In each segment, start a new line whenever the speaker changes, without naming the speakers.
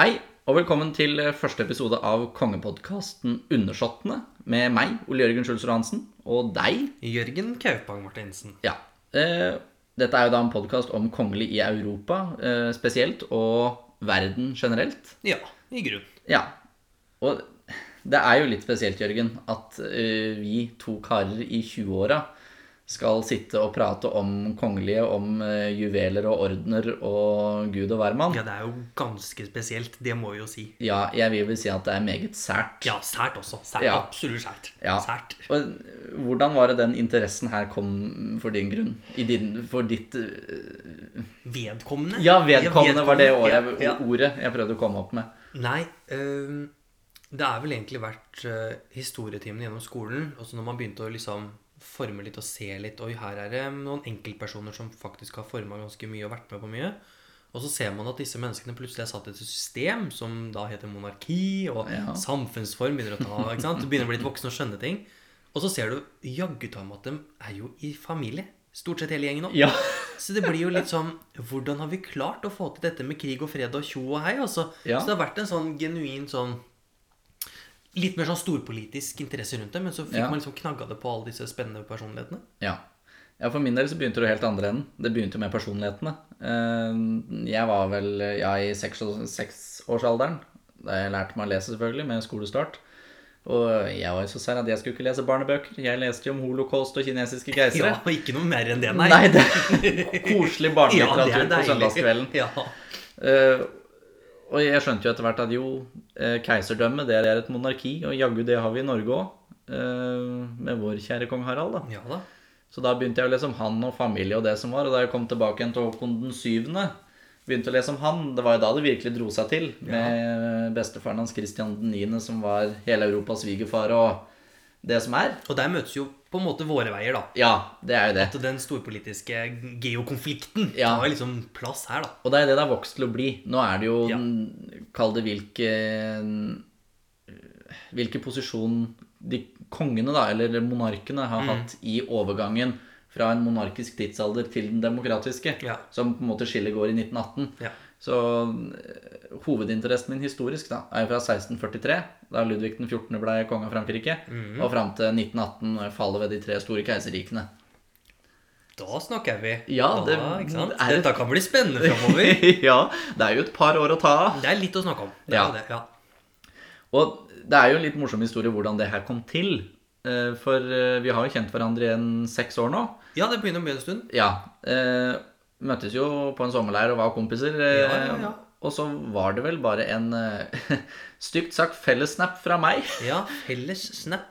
Hei, og velkommen til eh, første episode av kongepodkasten Undersåttene. Med meg, Ole Jørgen Schulzer Hansen, og deg.
Jørgen Kaupang Martinsen.
Ja. Eh, dette er jo da en podkast om kongelig i Europa eh, spesielt, og verden generelt.
Ja, i grunn.
Ja. Og det er jo litt spesielt, Jørgen, at eh, vi to karer i 20-åra skal sitte og prate om kongelige, om eh, juveler og ordener og gud og hvermann.
Ja, det er jo ganske spesielt, det må vi jo si.
Ja, jeg vil vel si at det er meget sært.
Ja, sært også. Sært,
Ja.
Absolutt sært.
Ja.
Sært.
Og hvordan var det den interessen her kom for din grunn? I din, for ditt øh,
Vedkommende.
Ja, vedkommende var det året,
Ja, ja.
ordet jeg prøvde å komme opp med.
Nei, øhm, det er vel egentlig vært øh, historietimen gjennom skolen, og så når man begynte å liksom forme litt og se litt, oi, her er det noen enkeltpersoner som faktisk har formet ganske mye og vært med på mye, og så ser man at disse menneskene plutselig er satt i et system som da heter monarki, og
Ja.
samfunnsform begynner å ta, ikke sant? Du begynner å bli litt voksen og skjønne ting, og så ser du jaggu ta med at de er jo i familie, stort sett hele gjengen nå.
Ja.
Så det blir jo litt sånn Hvordan har vi klart å få til dette med krig og fred og tjo og hei? Altså?
Ja.
Så det har vært en sånn genuin sånn Litt mer sånn storpolitisk interesse rundt det, men så fikk
Ja.
man liksom knagga det på alle disse spennende personlighetene.
ja. Ja, For min del så begynte det helt andre enden. Det begynte med personlighetene. Eh, Jeg var vel ja, i seks- seksårsalderen da jeg lærte meg å lese, selvfølgelig, med skolestart. Og jeg var jo så sær at jeg skulle ikke lese barnebøker. Jeg leste jo om holocaust og kinesiske
Ja,
keisere.
og ikke noe mer enn det,
Nei.
nei.
det er koselig barnelitteratur på søndagskvelden.
Ja.
Eh, og jeg skjønte jo etter hvert at jo, eh, keiserdømme det er et monarki, og jaggu det har vi i Norge òg. med vår kjære kong Harald, da.
ja da.
Så da begynte jeg å lese om han og familie og det som var. Og da jeg kom tilbake igjen til Håkon den syvende, begynte å lese om han. Det var jo da det virkelig dro seg til. Med eh, bestefaren hans Christian den niende, som var hele Europas svigerfar, og det som er.
Og der møtes jo på en måte våre veier, da.
Ja, det er jo det.
At den storpolitiske geokonflikten
Ja.
tar liksom plass her, da.
Og det er det det har vokst til å bli. Nå er det jo
Ja.
den- Kall det hvilke Hvilken posisjon de kongene, da, eller monarkene,
Mm.
har hatt i overgangen fra en monarkisk tidsalder til den demokratiske,
Ja.
som på en måte skillet går i 1918.
Ja.
Så eh, hovedinteressen min historisk da, er jo fra 1643, da Ludvig den 14. ble konge av Frankrike,
Mm.
og fram til 1918, fallet ved de tre store keiserrikene.
Da snakker vi.
Ja,
da,
det-
ikke sant?
er det-
Dette kan bli spennende framover.
ja, det er jo et par år å ta av.
Det er litt å snakke om. Det er
Ja.
jo Det, ja.
Og det er jo en litt morsom historie hvordan det her kom til. Eh, For eh, vi har jo kjent hverandre i en seks år nå.
ja, det begynner å bli en stund.
Ja. eh, Møttes jo på en sommerleir og var kompiser. eh,
Ja, ja, ja.
Og så var det vel bare en eh, stygt sagt fellessnap fra meg.
Ja, felles snap,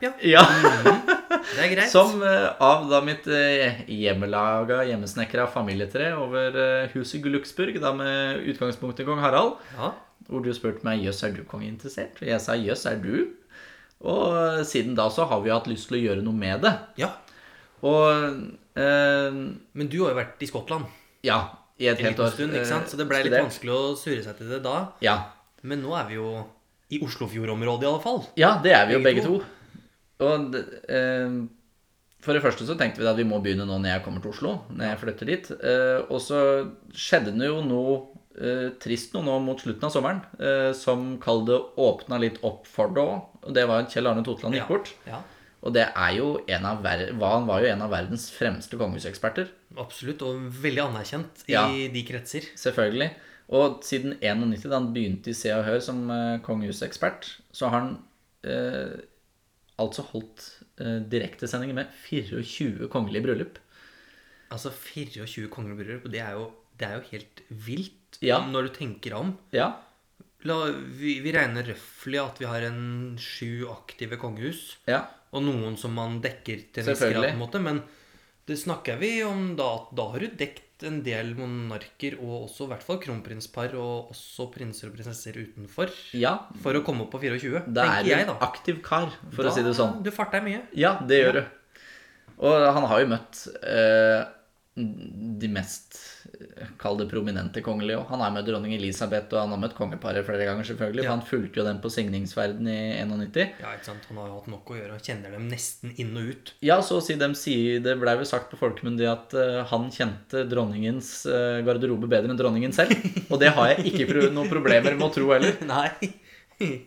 ja. Mhm.
Ja,
Det er greit.
Som eh, av da mitt eh, hjemmelaga, hjemmesnekra familietre over eh, huset Glücksburg, da med utgangspunkt i kong Harald.
Ja.
Hvor du spurte meg jøss, er du kongeinteressert? Og jeg sa jøss, er du? Og siden da så har vi hatt lyst til å gjøre noe med det.
ja.
Og eh,
Men du har jo vært i Skottland
ja, i et
en
helt år. Eh,
liten stund, ikke sant? så det ble litt
Studert.
vanskelig å surre seg til det da.
Ja.
Men nå er vi jo i Oslofjordområdet i alle fall.
ja, det er vi jo
Begge
begge to. Og det- eh, for det første så tenkte vi at vi må begynne nå når jeg kommer til Oslo, når jeg flytter dit. Eh, og så skjedde det jo noe eh, trist noe nå mot slutten av sommeren, eh, som kall det åpna litt opp for det òg. Og det var at Kjell Arne Totland gikk bort.
Ja,
Og det er jo en av ver hva- Han var jo en av verdens fremste kongehuseksperter.
absolutt, og veldig anerkjent i
Ja.
de kretser.
Selvfølgelig. Og siden 91, da han begynte i Se og Hør som eh, kongehusekspert, så har han eh, altså holdt eh, direktesendinger med 24 kongelige bryllup.
Altså 24 kongelige bryllup, og det er jo, det er jo helt vilt
Ja.
når du tenker deg om.
Ja.
La, vi, vi regner røffelig at vi har en sju aktive kongehus.
ja.
Og noen som man dekker til en viss grad,
Selvfølgelig.
på en måte. Men det snakker vi om da at da har du dekt en del monarker, og også i hvert fall kronprinspar, og også prinser og prinsesser utenfor.
Ja.
For å komme opp på 24,
Da er
tenker
du
jeg,
en
da.
aktiv kar, for
da
å si det sånn.
Du farter deg mye.
Ja, det gjør du. Og han har jo møtt eh, de mest eh, kall det prominente kongelige. Og Han har møtt dronning Elisabeth, og han har møtt kongeparet flere ganger, selvfølgelig.
Ja.
For han fulgte jo den på signingsferden i 91.
Ja, ikke sant? Han har jo hatt nok å gjøre og kjenner dem nesten inn og ut.
Ja, så å si dem sier Det blei vel sagt på folkemunne at eh, han kjente dronningens eh, garderobe bedre enn dronningen selv. Og det har jeg ikke pro noen problemer med å tro heller.
Nei.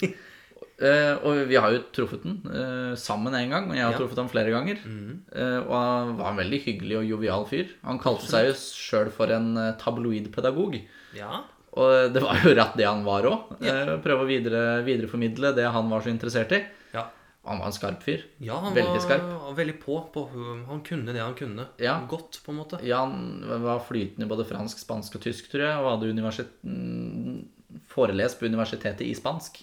Eh, og vi har jo truffet den eh, sammen en gang, men jeg har
Ja.
truffet ham flere ganger.
Mm,
Eh, og han var en veldig hyggelig og jovial fyr. Han kalte seg jo sjøl for en eh, tabloidpedagog.
Ja.
Og det var jo rett det han var òg. prøve å videre, videreformidle det han var så interessert i.
Ja.
Og han var en skarp fyr.
ja han
Veldig
var
skarp.
veldig på, på. Han kunne det han kunne.
Ja.
Godt, på en måte.
Ja, han var flytende i både fransk, spansk og tysk, tror jeg, og hadde universit... mm, forelest på universitetet i spansk.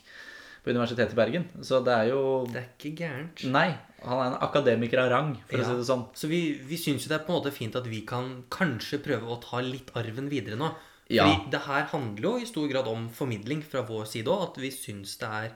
På Universitetet i Bergen. Så det er jo
Det er ikke gærent.
Nei, han er en akademiker av rang, for å
Ja.
si det sånn.
Så vi, vi syns jo det er på en måte fint at vi kan kanskje prøve å ta litt arven videre nå.
Ja.
Fordi det her handler jo i stor grad om formidling fra vår side òg. At vi syns det er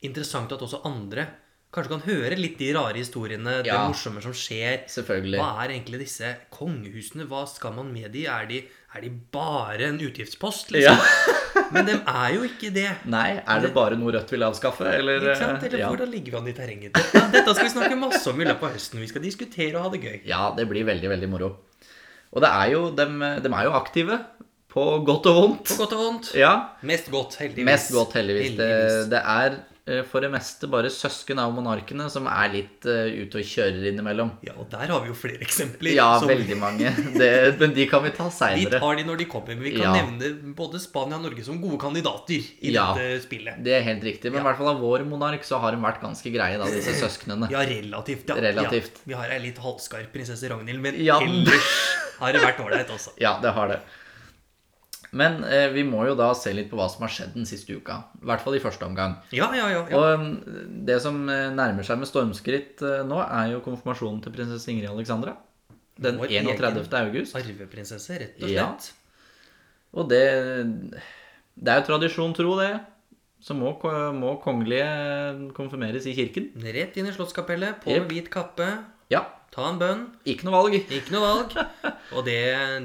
interessant at også andre kanskje kan høre litt de rare historiene, det
Ja.
morsomme som skjer.
Selvfølgelig.
Hva er egentlig disse kongehusene? Hva skal man med de? Er de, er de bare en utgiftspost?
Ja.
Liksom? Men dem er jo ikke det.
Nei, er det bare noe Rødt vil avskaffe, eller eh,
Ikke sant? Eller
ja.
hvordan ligger vi an i terrenget? Dette, dette skal vi snakke masse om i løpet av høsten. Vi skal diskutere og ha det gøy.
ja, det blir veldig, veldig moro. Og det er jo Dem, dem er jo aktive. På godt og vondt.
På godt og vondt.
Ja.
Mest godt, heldigvis.
Mest godt, heldigvis. Det, det er eh, for det meste bare søsken av monarkene som er litt eh, ute og kjører innimellom.
Ja, og der har vi jo flere eksempler.
Ja,
som-
veldig mange. Det, men de kan vi ta
Vi
seinere.
tar de når de kommer, men vi
Ja.
kan nevne både Spania og Norge som gode kandidater i
Ja.
dette spillet.
Det er helt riktig. Men i hvert fall av vår monark så har de vært ganske greie, da, disse søsknene.
Ja, relativt. Ja.
Relativt.
Ja. Vi har ei litt halvskarp prinsesse Ragnhild, men
Ja.
ellers har det vært ålreit, altså.
Ja, det har det. Men eh, vi må jo da se litt på hva som har skjedd den siste uka. I hvert fall i første omgang.
Ja, ja, ja. ja.
Og mm, det som eh, nærmer seg med stormskritt eh, nå, er jo konfirmasjonen til prinsesse Ingrid Alexandra. Den
Vår
31. august.
Arveprinsesse, rett og
Ja.
slett.
Og det Det er jo tradisjon tro, det. Så må, ko- må kongelige eh, konfirmeres i kirken.
Rett inn i Slottskapellet, på
Jep.
med hvit kappe,
Ja.
ta en bønn.
Ikke noe valg.
Ikke noe valg. Og det,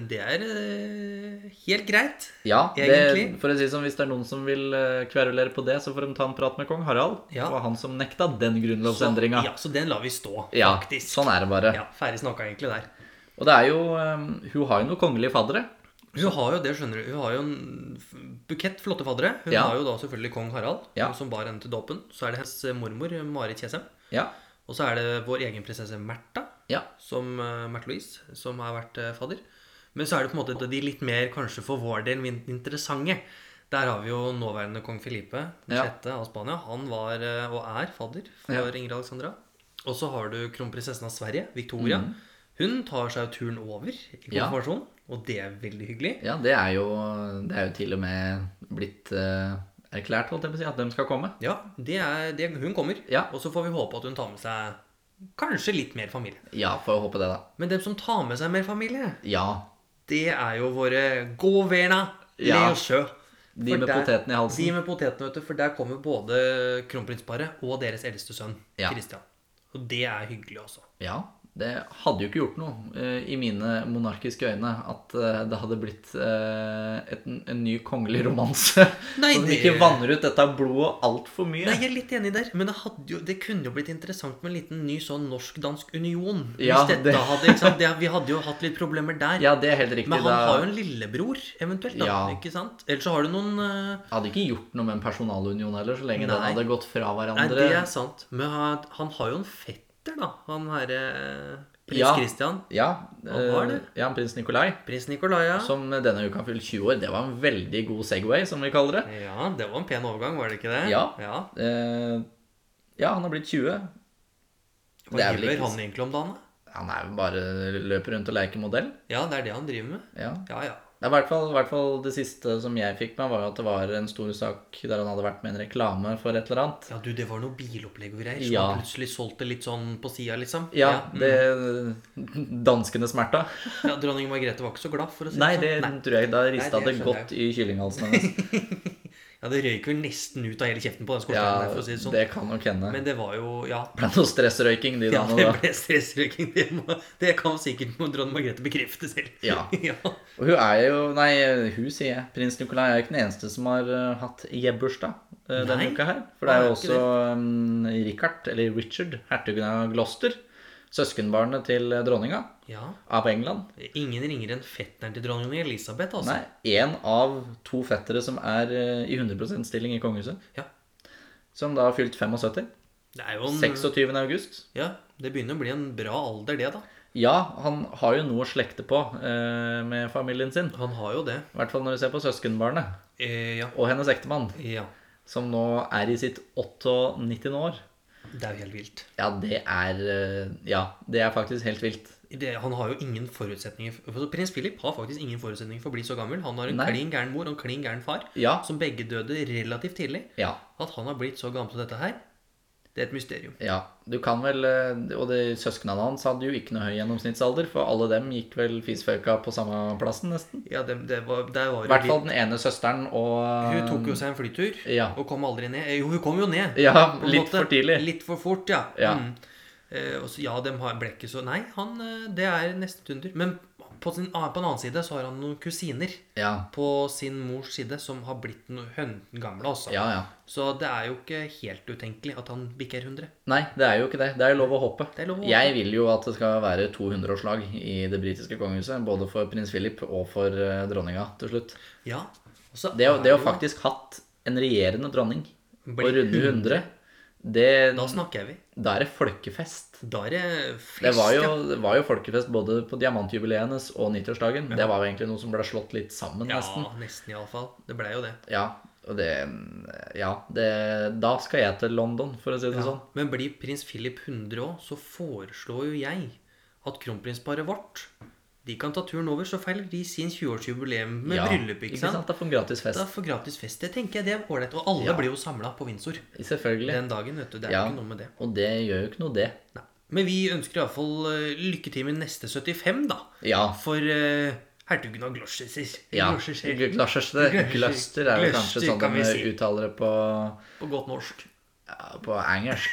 det er eh, helt greit.
Ja, det,
Egentlig.
for å si det som, Hvis det er noen som vil eh, kverulere på det, så får de ta en prat med kong Harald.
Ja.
Det var han som nekta den
Så,
grunnlovsendringa.
ja, så den lar vi stå,
Ja,
faktisk.
sånn er det bare.
Ja, Ferdig snakka egentlig der.
Og det er jo eh, Hun har jo noen kongelige faddere.
Hun har jo det, skjønner du. Hun har jo en f- bukett flotte faddere. Hun
Ja.
har jo da selvfølgelig kong Harald,
Ja.
som bar henne til dåpen. Så er det hennes mormor, Marit Kjesem.
Ja.
Og så er det vår egen prinsesse Märtha,
ja.
som eh, Märtha Louise, som har vært eh, fadder. Men så er det på en måte de litt mer kanskje for vår del min- interessante. Der har vi jo nåværende kong Filipe
Ja.
6. av Spania. Han var eh, og er fadder for
Ja.
Ingrid Alexandra. Og så har du kronprinsessen av Sverige, Victoria. Hun tar seg jo turen over i
Mm. Ja.
konfirmasjon, og det er veldig hyggelig.
Ja, det er jo Det er jo til og med blitt eh, erklært, holdt jeg på å si, at de skal komme.
Ja, det er, det, hun kommer.
Ja.
Og så får vi håpe at hun tar med seg kanskje litt mer familie.
Ja, får håpe det, da.
Men dem som tar med seg mer familie,
Ja.
det er jo våre governa
Ja.
Leosjø.
De med potetene i halsen.
De med potetene, vet du. For der kommer både kronprinsparet og deres eldste sønn,
Ja.
Christian. Og det er hyggelig altså. også.
Ja, det hadde jo ikke gjort noe eh, i mine monarkiske øyne at eh, det hadde blitt eh, et, en ny kongelig romanse.
Nei,
Som
det-
ikke vanner ut dette blodet altfor mye.
Nei, jeg er litt enig der, men det, hadde jo, det kunne jo blitt interessant med en liten ny sånn norsk-dansk union.
Ja,
hvis dette
det-
hadde, ikke sant? Det, vi hadde jo hatt litt problemer der.
Ja, det er helt riktig.
Men han
da
har jo en lillebror, eventuelt. da,
Ja.
ikke sant? Eller så har du noen eh,
hadde ikke gjort noe med en personalunion heller, så lenge den
Nei.
hadde gått fra
Nei,
hverandre.
det er sant. Men han, han har jo en fetter, da. Han herre eh, prins
Ja.
Christian.
Ja,
Han har
eh,
det.
ja, prins Nikolai,
Prins Nikolai, ja.
som denne uka fylte 20 år. Det var en veldig god Segway, som vi kaller det.
Ja, det var en pen overgang, var det ikke det?
Ja.
ja.
Eh, ja, han har blitt 20.
Hva
Det er vel
driver
ikke-
han egentlig om dagen? da?
Han er jo bare løper rundt og leker modell.
Ja, det er det han driver med.
Ja.
Ja, ja.
Det er i hvert, fall- i hvert fall det siste som jeg fikk med, var jo at det var en stor sak der han hadde vært med en reklame for et eller annet.
Ja, du, det var noe bilopplegg og greier. Så
Ja.
han plutselig solgte litt sånn på sida, liksom.
Ja,
ja. mm.
det Danskene smerta.
ja, Dronning Margrethe var ikke så glad, for å si
Nei,
det
det
sånn.
tror jeg da rista det
Nei, det skjønner
godt i kyllinghalsen hennes.
Ja, Ja, det røyk vel nesten ut av hele kjeften på den skorsteinen der,
Ja,
for å si det sånn.
det kan nok hende.
Men det var jo Ja,
Det ble noe stressrøyking de
ja
dagene.
det
da.
ble stressrøyking. Det, må- det kan sikkert dronning Margrethe bekrefte selv.
Ja.
ja.
Og hun er jo Nei, hun sier jeg. Prins Nikolai er jo ikke den eneste som har eh, hatt jebbursdag eh, denne
Nei,
uka her. For det er jo
han er ikke
også um, Richard, eller Richard, hertugen av Gloucester. Søskenbarnet til eh, dronninga
ja.
av England.
Ingen ringer enn fetteren til dronning Elisabeth, altså.
Nei, én av to fettere som er eh, i 100 %-stilling i kongehuset.
Ja.
Som da har fylt 75.
Det er jo en
26. august.
Ja, det begynner å bli en bra alder, det, da.
Ja, han har jo noe å slekte på eh, med familien sin.
Han har jo det.
I hvert fall når du ser på søskenbarnet
Eh, ja.
og hennes ektemann,
ja.
som nå er i sitt 98. år.
Det er jo helt vilt.
Ja, det er eh, Ja, det er faktisk helt vilt.
Det, han har jo ingen forutsetninger for- altså, Prins Philip har faktisk ingen forutsetninger for å bli så gammel. Han har en
Nei.
klin gæren mor og en klin gæren far,
Ja.
som begge døde relativt tidlig.
Ja.
At han har blitt så gammel som dette her, det er et mysterium.
ja. Du kan vel eh, Og det søsknene hans hadde jo ikke noe høy gjennomsnittsalder, for alle dem gikk vel fisføyka på samme plassen, nesten.
Ja, det, det var, der
I
var det
hvert
litt-
fall den ene søsteren og
Hun tok jo seg en flytur,
Ja.
og kom aldri ned. Eh, Jo, hun kom jo ned.
Ja,
på en
litt
måte.
for tidlig.
Litt for fort, ja.
Ja.
Mm. Eh, og så, ja, dem har ble ikke så Nei, han, eh, det er nesten tunder. Men på, sin, ah, på en annen side så har han noen kusiner
Ja.
på sin mors side som har blitt noe hønten gamle, altså.
Ja, ja.
Så det er jo ikke helt utenkelig at han bikker 100.
Nei, det er jo ikke det. Det er jo lov å håpe.
Det er lov å håpe.
Jeg vil jo at det skal være 200-årslag i det britiske kongehuset. Både for prins Philip og for eh, dronninga til slutt.
Ja. Og så
Det, å-
er
det å
Altså, jo-
faktisk hatt en regjerende dronning og
Bli
runde 100, det,
Da snakker vi.
da er det folkefest.
Da er det fest,
Det var jo,
ja.
det var jo folkefest både på diamantjubileenes og 90-årsdagen. Det var jo egentlig noe som ble slått litt sammen, nesten.
Ja, nesten iallfall. Det blei jo det.
Ja, og det Ja, det, da skal jeg til London, for å si det sånn.
Men blir prins Philip 100 òg, så foreslår jo jeg at kronprinsparet vårt de kan ta turen over, så feiler de sin 20-årsjubileum med
ja,
bryllup. ikke sant?
Da får en gratis
Da
fest.
får gratis fest. Det tenker jeg det er ålreit. Og alle blir jo samla på Windsor
Selvfølgelig.
den dagen. vet du, Det er jo
Ja.
ikke noe med det.
Og det gjør jo ikke noe, det.
Nei. Men vi ønsker iallfall eh, lykke til med neste 75, da.
Ja.
For eh, hertugen av Gloucester.
ja.
Gloucester,
Gloucester Gloucester er jo kanskje
Gloucester,
sånn
kan vi
de
si.
uttaler det på,
På godt norsk.
ja, på engelsk.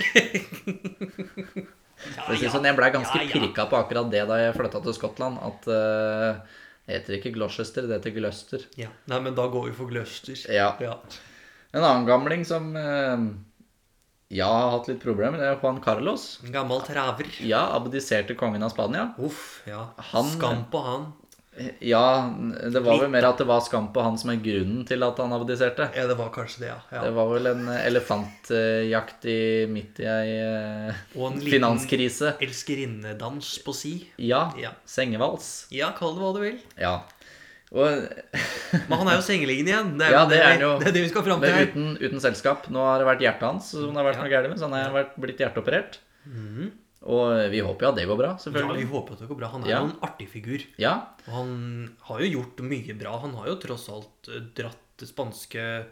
Ja,
For å si
ja.
det sånn, jeg ble ganske
Ja, ja.
pirka på akkurat det da jeg flytta til Skottland. At eh, det heter ikke Gloucester, det heter Gloucester.
Ja. Nei, men da går vi for Gloucester.
Ja.
ja.
En annen gamling som eh, ja, har hatt litt problemer, det er Juan Carlos.
En Gammel traver.
Ja, abdiserte kongen av Spania.
Uff, ja.
Han-
Skam på han.
Ja, det var vel mer at det var skam på han som er grunnen til at han abdiserte.
Ja, det var kanskje det, ja.
Det var vel en eh, elefantjakt i, midt i ei eh,
Og en liten-
finanskrise.
Elskerinnedans på si.
Ja,
Ja.
Sengevals.
Ja, kall det hva du vil.
Ja. Og,
Men han er jo sengeliggende igjen. Det er,
Ja, det
jo det,
er
vi-
han jo.
det er det vi skal fram
men
til her.
uten, uten selskap. Nå har det vært hjertet hans som det har vært noe gærent med, så han har vært, blitt hjerteoperert. Og vi håper jo at det går bra,
Ja,
selvfølgelig.
Mhm. vi håper at det går bra. Han er
Ja.
jo en artig figur.
Ja.
Og han har jo gjort mye bra. Han har jo tross alt eh, dratt det spanske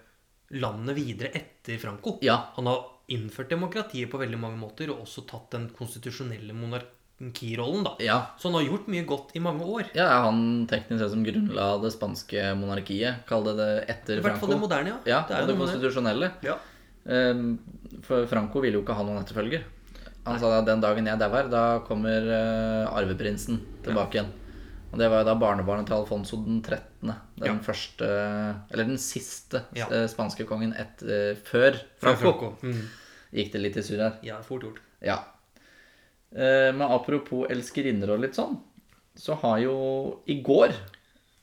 landet videre etter Franco.
Ja.
Han har innført demokratiet på veldig mange måter, og også tatt den konstitusjonelle monarkirollen, da.
ja.
Så han har gjort mye godt i mange år.
Ja, er han teknisk sett som grunnla det spanske monarkiet, kall det det
I
etter
hvert fall det
Franco.
moderne, ja.
Ja,
det er
og det
jo noe med det.
konstitusjonelle.
Ja.
Ehm, For Franco ville jo ikke ha noen etterfølger. Han sa at den dagen jeg dauer, da kommer eh, arveprinsen tilbake igjen. Og det var jo da barnebarnet til Alfonso den 13. Den
Ja.
første Eller den siste
Ja.
eh, spanske kongen et, eh, før
Fra
Franco.
Franco. Mm.
Gikk det litt i surr her.
Ja, fort gjort.
Ja. Eh, Men apropos elskerinner og litt sånn, så har jo I går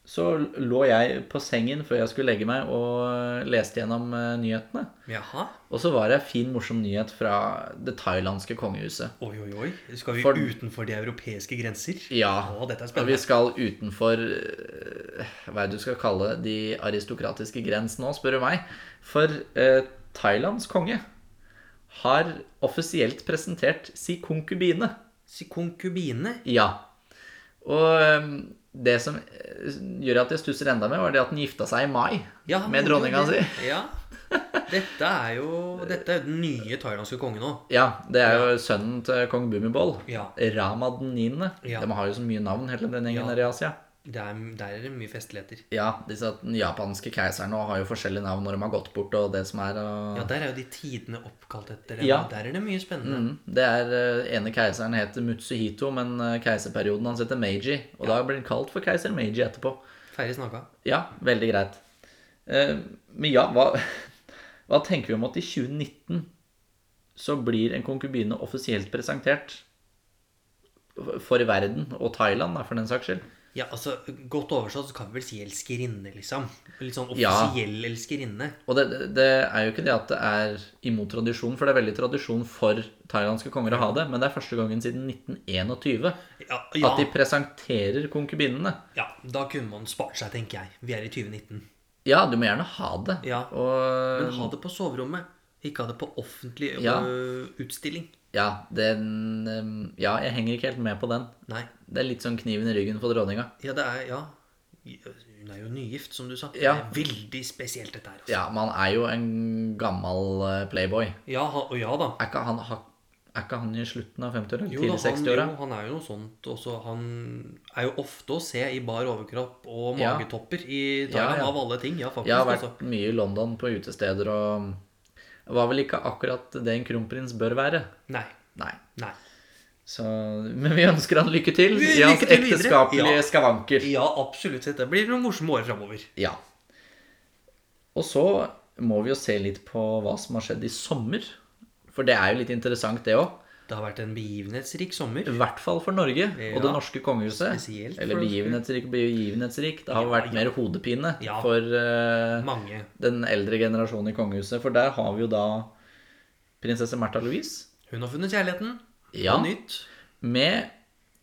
så lå jeg på sengen før jeg skulle legge meg og leste gjennom eh, nyhetene.
Jaha.
Og så var det en fin, morsom nyhet fra det thailandske kongehuset.
Oi, oi, oi. Skal vi
For-
utenfor de europeiske grenser?
Ja.
Å, dette er
Og vi
spennende.
skal utenfor eh, hva er det du skal kalle de aristokratiske grensene nå, spør du meg. For eh, Thailands konge har offisielt presentert si konkubine.
Si konkubine.
Ja. Og eh, det som eh, gjør at jeg stusser enda mer, var det at han gifta seg i mai
Ja, han
med
gjorde
dronninga si.
det. Ja. Dette er jo Dette er jo den nye thailandske kongen nå.
Ja, det er jo sønnen til kong Bhumibol.
Ja.
Rama den 9.
Ja.
De har jo så mye navn, hele den gjengen
Ja.
der i Asia.
det er, der er det mye festligheter.
Ja, disse japanske keiserne og har jo forskjellige navn når de har gått bort og det som er. Og...
Ja, der er jo de tidene oppkalt etter.
Ja.
Ja. Der er det mye spennende.
Mm, det er eh, ene keiseren heter Mutsuhito, men eh, keiserperioden hans heter Meiji. Og da blir han kalt for keiser Meiji etterpå.
Ferdig snakka.
Ja, veldig greit. Eh, men ja, hva, hva tenker vi om at i 2019 så blir en konkubine offisielt presentert for- for verden, og Thailand da, for den saks skyld?
Ja, altså, Godt oversatt så kan vi vel si elskerinne, liksom. Litt sånn
Ja.
offisiell elskerinne.
Og det, det er jo ikke det at det er imot tradisjon, for det er veldig tradisjon for thailandske konger å ha det, men det er første gangen siden 1921
Ja, ja,
at de presenterer konkubinene.
ja, da kunne man spart seg, tenker jeg. Vi er i 2019.
Ja, du må gjerne ha det.
Ja. Men
Og
ha det på soverommet. Ikke ha det på offentlig ø,
Ja.
utstilling.
ja, den eh, Ja, jeg henger ikke helt med på den.
Nei.
Det er litt sånn kniven i ryggen for dronninga.
Ja, det er Ja. Hun er jo nygift, som du sa.
Ja.
Det er veldig spesielt, dette her. Altså.
Ja, men han er jo en gammel eh, playboy.
Ja, ha- og ja da.
Er ikke han, ha- er ikke han i slutten av 50-åra?
Jo da,
Tidlig
han,
60-åra?
jo, han er jo noe sånt også. Han er jo ofte å se i bar overkropp og
Ja.
magetopper i
Ja,
Thailand,
ja.
av alle ting. Ja, faktisk.
Jeg har
altså.
vært mye i London på utesteder og det var vel ikke akkurat det en kronprins bør være.
Nei.
Nei.
Nei.
Så, men vi ønsker han lykke til
Vi-
i hans
lykke til videre.
ekteskapelige
Ja.
skavanker.
Ja, absolutt. Dette blir noen morsomme år framover.
Ja. Og så må vi jo se litt på hva som har skjedd i sommer. For det er jo litt interessant, det òg.
Det har vært en begivenhetsrik sommer.
I hvert fall for Norge og det
Ja.
norske kongehuset.
Spesielt for
Eller
norske-
begivenhetsrik, begivenhetsrik. Det har
Ja,
vært
ja.
mer hodepine
Ja.
for eh,
Mange.
den eldre generasjonen i kongehuset. For der har vi jo da prinsesse Märtha Louise
Hun har funnet kjærligheten.
Ja.
På nytt.
med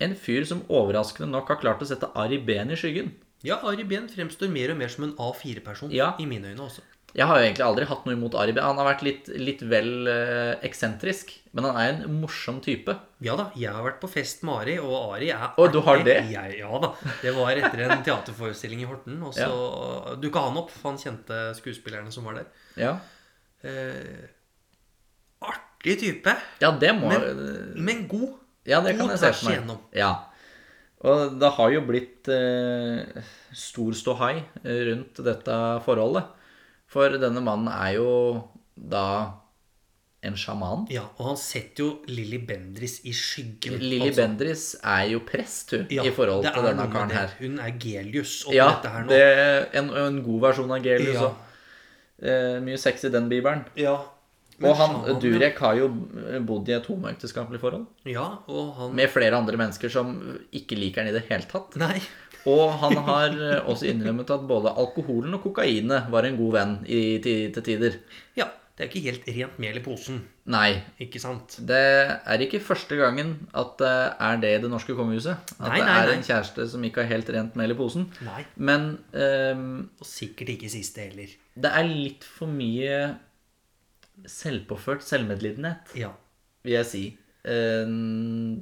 en fyr som overraskende nok har klart å sette Ari Behn i skyggen.
Ja, Ari Behn fremstår mer og mer som en A4-person.
Ja.
I mine øyne også.
Jeg har jo egentlig aldri hatt noe imot Ari Behn. Han har vært litt, litt vel eh, eksentrisk, men han er en morsom type.
Ja da, jeg har vært på fest med Ari, og Ari er
Å, du har
artig.
det?
Jeg, ja da. Det var etter en teaterforestilling i Horten, og så dukka han opp. for Han kjente skuespillerne som var der.
Ja,
Eh, artig type,
ja det må
men god.
Ja, det
god
kan jeg se
tvers
for meg.
igjennom.
Ja. Og det har jo blitt eh, stor ståhai eh, rundt dette forholdet. For denne mannen er jo da en sjaman.
Ja, og han setter jo Lilly Bendris i skyggen.
Lilly Bendris er jo prest, hun,
altså. Ja,
i forhold
det er
til denne
noe med
karen
det.
her.
Hun er Gelius oppi
Ja,
dette her nå.
det en, en god versjon av Gelius
Ja.
også. Eh, mye sex i den bibelen.
Ja. Men
Og han,
sjaman,
Durek har jo bodd i et homoekteskapelig forhold
Ja, og han
med flere andre mennesker som ikke liker han i det hele tatt.
Nei.
Og han har eh, også innrømmet at både alkoholen og kokainet var en god venn i, til, til tider.
Ja, det er ikke helt rent mel i posen,
Nei,
ikke sant?
det er ikke første gangen at det er det i det norske kongehuset. At
Nei, nei,
det
nei.
er en kjæreste som ikke har helt rent mel i posen.
Nei.
Men ehm,
Og sikkert ikke siste heller.
det er litt for mye selvpåført selvmedlidenhet,
Ja.
vil jeg si. Ehm,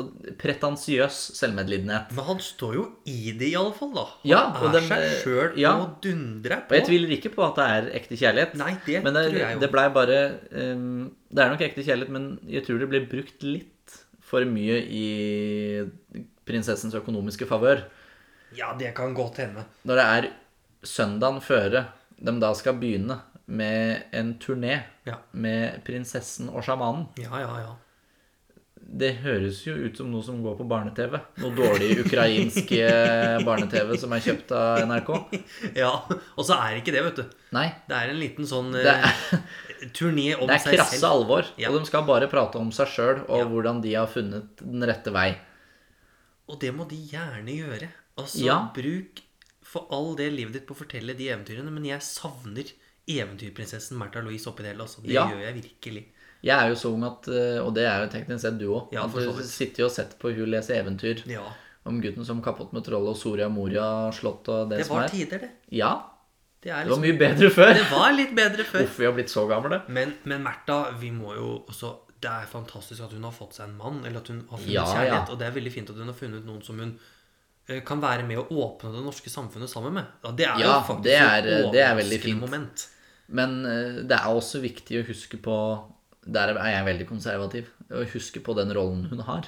og pretensiøs selvmedlidenhet.
Men han står jo i det, iallfall. Han
Ja, og
er
den- eh,
seg sjøl
ja.
og dundrer
Og
på.
jeg tviler ikke på at det er ekte kjærlighet.
Nei, det
men det,
tror jeg jo.
det blei bare ehm, Det er nok ekte kjærlighet, men jeg tror det ble brukt litt for mye i prinsessens økonomiske favør.
Ja, det kan godt hende.
Når det er søndagen føre de da skal begynne med en turné
Ja.
med prinsessen og sjamanen.
Ja, ja, ja.
Det høres jo ut som noe som går på barne-TV. Noe dårlig ukrainske barne-TV som er kjøpt av NRK.
Ja, Og så er ikke det, vet du.
Nei.
Det er en liten sånn
Det
eh,
er,
turné om
Det er
seg
krasse
selv.
alvor,
Ja.
og de skal bare prate om seg sjøl og
Ja.
hvordan de har funnet den rette vei.
Og det må de gjerne gjøre. Altså,
Ja.
bruk for all del livet ditt på å fortelle de eventyrene, men jeg savner eventyrprinsessen Märtha Louise oppi det hele. Altså. Det
Ja.
gjør jeg virkelig.
Jeg er jo så ung at eh, Og det er jo teknisk sett du òg.
Ja,
at
for så
du
vidt.
sitter jo og setter på hun lese eventyr
Ja.
om gutten som kappet med trollet og Soria Moria slott og det,
Det
som
var
er.
tider, det.
Ja,
Det, er
det var
liksom,
mye bedre før.
det var litt bedre før.
Uff, vi har blitt så gamle.
Men, men Märtha, vi må jo også Det er fantastisk at hun har fått seg en mann, eller at hun har funnet
Ja,
kjærlighet.
ja.
Og det er veldig fint at hun har funnet noen som hun eh, kan være med å åpne det norske samfunnet sammen med. Ja, det er jo
Ja,
faktisk
det er- eh,
et
det er veldig
overraskende
fint.
moment.
Men eh, det er også viktig å huske på Der er jeg veldig konservativ. Å huske på den rollen hun har.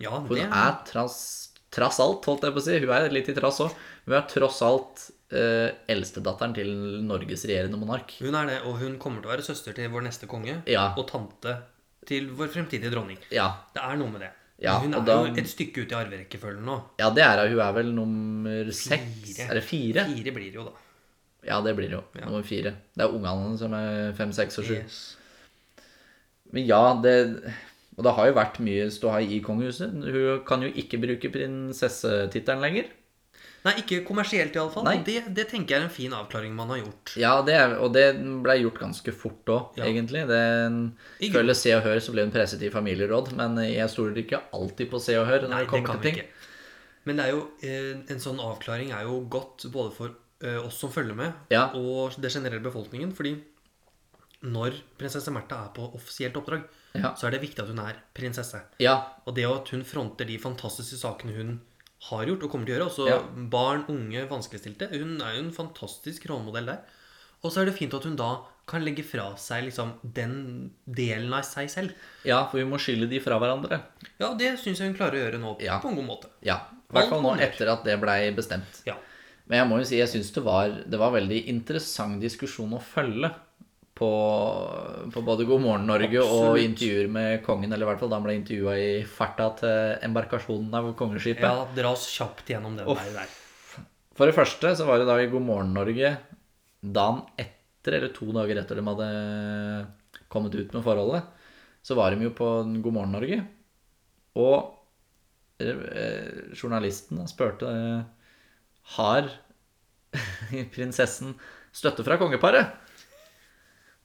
Ja,
For
det
hun
er
er tross, trass alt, holdt jeg på å si, hun er litt i trass òg, hun er tross alt eh, eldstedatteren til Norges regjerende monark.
Hun er det, og hun kommer til å være søster til vår neste konge
Ja.
og tante til vår fremtidige dronning.
Ja,
Det er noe med det.
Ja,
hun
og
er
da-
jo et stykke ut i arverekkefølgen nå.
ja det er hun. Hun er vel nummer seks?
Fire.
Er det fire?
Fire blir det jo, da.
Ja, det blir det jo. Nummer fire. Det er ungene hennes som er fem, seks og sju.
Yes.
Men ja, det Og det har jo vært mye ståhei i kongehuset. Hun kan jo ikke bruke prinsessetittelen lenger.
Nei, ikke kommersielt iallfall.
Nei.
Det, det tenker jeg er en fin avklaring man har gjort.
Ja, det er, og det ble gjort ganske fort òg,
Ja.
egentlig. Den,
I grunn-
føler Se og Hør så ble hun presset i familieråd, men eh, jeg stoler ikke alltid på Se og Hør. når
Nei,
det
det
kommer
kan
til
vi
ting.
ikke. Men det er jo, eh, en sånn avklaring er jo godt både for eh, oss som følger med,
Ja.
og det generelle befolkningen. Fordi når prinsesse Märtha er på offisielt oppdrag,
Ja.
så er det viktig at hun er prinsesse.
Ja,
Og det at hun fronter de fantastiske sakene hun har gjort og kommer til å gjøre, også
Ja.
barn, unge, vanskeligstilte, hun er jo en fantastisk rollemodell der. Og så er det fint at hun da kan legge fra seg liksom den delen av seg selv.
ja, for vi må skylde de fra hverandre.
Ja, det syns jeg hun klarer å gjøre nå
Ja.
på en god måte.
Ja. I hvert
Alt
fall nå
kommer.
etter at det blei bestemt.
Ja.
Men jeg må jo si jeg syns det var Det var veldig interessant diskusjon å følge på, på både God morgen Norge og
Absolutt.
intervjuer med kongen, eller i hvert fall da han ble intervjua i farta til embarkasjonen av kongeskipet.
ja, dra oss kjapt gjennom den veien der.
For det første så var det da i God morgen Norge dagen etter, eller to dager etter de hadde kommet ut med forholdet, så var de jo på God morgen Norge. Og eh, journalisten da spurte eh, har prinsessen støtte fra kongeparet.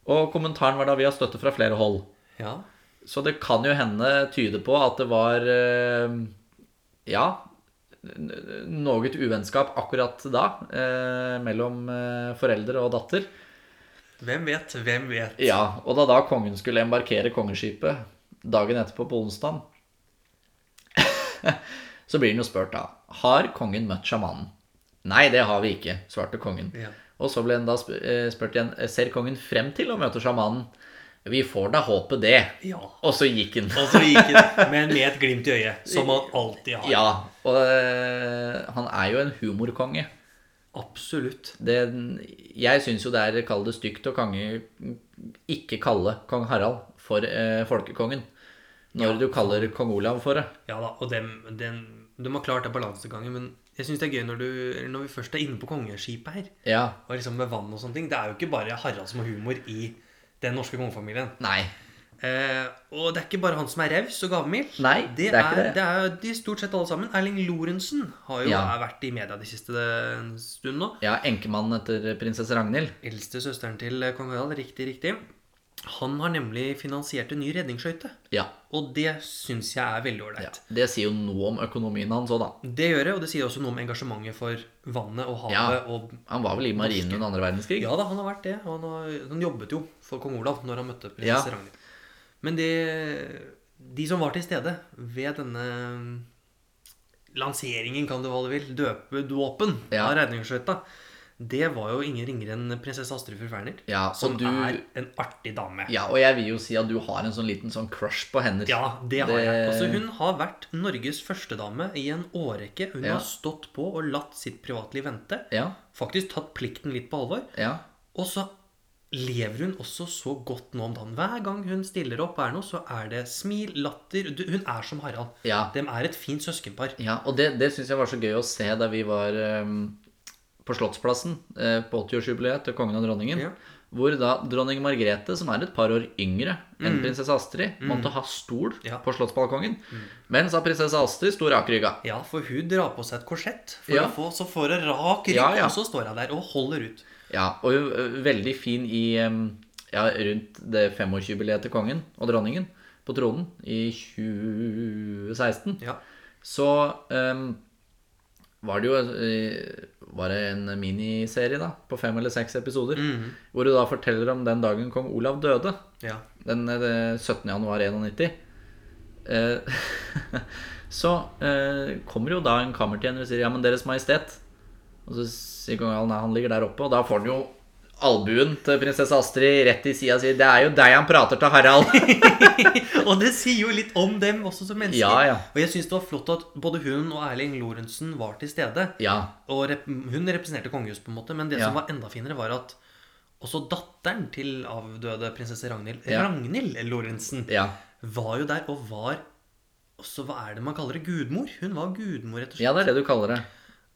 Og kommentaren var da vi har støtte fra flere hold.
Ja.
Så det kan jo hende tyde på at det var eh, Ja n- n- noe uvennskap akkurat da eh, mellom eh, foreldre og datter.
Hvem vet, hvem vet.
Ja, Og da da kongen skulle embarkere kongeskipet dagen etterpå på onsdag, så blir han jo spurt da Har kongen møtt sjamanen. Nei, det har vi ikke, svarte kongen.
Ja.
Og så ble han da sp eh, spurt igjen Ser kongen frem til å møte sjamanen. Vi får da håpe det.
Ja.
Og så gikk han.
Og så gikk det, men med et glimt i øyet, som man alltid har.
Ja, og eh, han er jo en humorkonge.
Absolutt.
Det, jeg syns jo det er kall det stygt å kange, ikke kalle kong Harald for eh, folkekongen. Når du kaller kong Olav for det.
Ja da, og dem, den, de har klart det balansegangen, men jeg syns det er gøy når, du, eller når vi først er inne på kongeskipet her,
Ja.
og liksom med vann og sånne ting. Det er jo ikke bare Harald som har humor i den norske kongefamilien.
Nei.
Eh, og det er ikke bare han som er raus og gavmild.
Nei, det er ikke det.
det er de stort sett alle sammen. Erling Lorentzen har jo
Ja. vært
vært i media de siste eh, stund nå.
Ja, enkemannen etter prinsesse Ragnhild.
Eldste søsteren til eh, kong Harald, riktig, riktig. Han har nemlig finansiert en ny redningsskøyte.
Ja.
Og det syns jeg er veldig ålreit.
ja. Det sier jo noe om økonomien hans òg, da.
Det gjør det, og det sier også noe om engasjementet for vannet og havet. Og
Han var vel i marinen under andre verdenskrig?
ja da, han har vært det. og Han, har, han jobbet jo for kong Olav når han
Ja.
møtte prinsesse Ragnhild. Men det, de som var til stede ved denne mm, lanseringen, kan du hva du vil, døpe dåpen
Ja.
av redningsskøyta, det var jo ingen ringere enn prinsesse Astrid Fru Ferner,
Ja, og
som
du-
er en artig dame.
Ja, og jeg vil jo si at du har en sånn liten sånn crush på henne.
Ja, det har
Det-
jeg. Altså, hun har vært Norges førstedame i en årrekke. Hun
Ja.
har stått på og latt sitt privatliv vente.
Ja.
Faktisk tatt plikten litt på alvor.
ja.
Og så lever hun også så godt nå om dagen. Hver gang hun stiller opp og er noe, så er det smil, latter du, Hun er som Harald.
ja.
De er et fint søskenpar.
Ja, og det, det syns jeg var så gøy å se da vi var ehm, på Slottsplassen eh, på 80-årsjubileet til kongen og dronningen.
Ja.
Hvor da dronning Margrethe, som er et par år yngre enn prinsesse Astrid, måtte ha stol
Mm. Ja. Mm.
på slottsbalkongen. Mens da prinsesse Astrid sto rakrygga.
Ja, for hun drar på seg et korsett, for
Ja.
å få, så får hun rak rygg,
Ja, ja.
og så står hun der og holder ut.
Ja, og hun er veldig fin i ehm, ja, rundt det 25-årsjubileet til kongen og dronningen på tronen i 2016.
Ja.
Så ehm, var det jo eh, Var det en miniserie da på fem eller seks episoder
Mhm.
hvor du da forteller om den dagen kong Olav døde.
ja.
Den eh, 17. januar 91. Eh, så eh, kommer jo da en kammertjener og sier 'Ja, men Deres Majestet' Og så sier kong Olav 'Nei, han ligger der oppe', og da får han jo albuen til prinsesse Astrid rett i sida og sier 'Det er jo deg han prater til, Harald'.
Og det sier jo litt om dem også som mennesker.
Ja, ja.
Og jeg syns det var flott at både hun og Erling Lorentzen var til stede.
ja.
Og rep hun representerte kongehuset, på en måte. Men det
Ja.
som var enda finere, var at også datteren til avdøde prinsesse Ragnhild,
Ja.
Ragnhild Lorentzen,
Ja.
var jo der og var også, Hva er det man kaller det? Gudmor? Hun var gudmor, rett og slett.
ja, det er det du kaller det.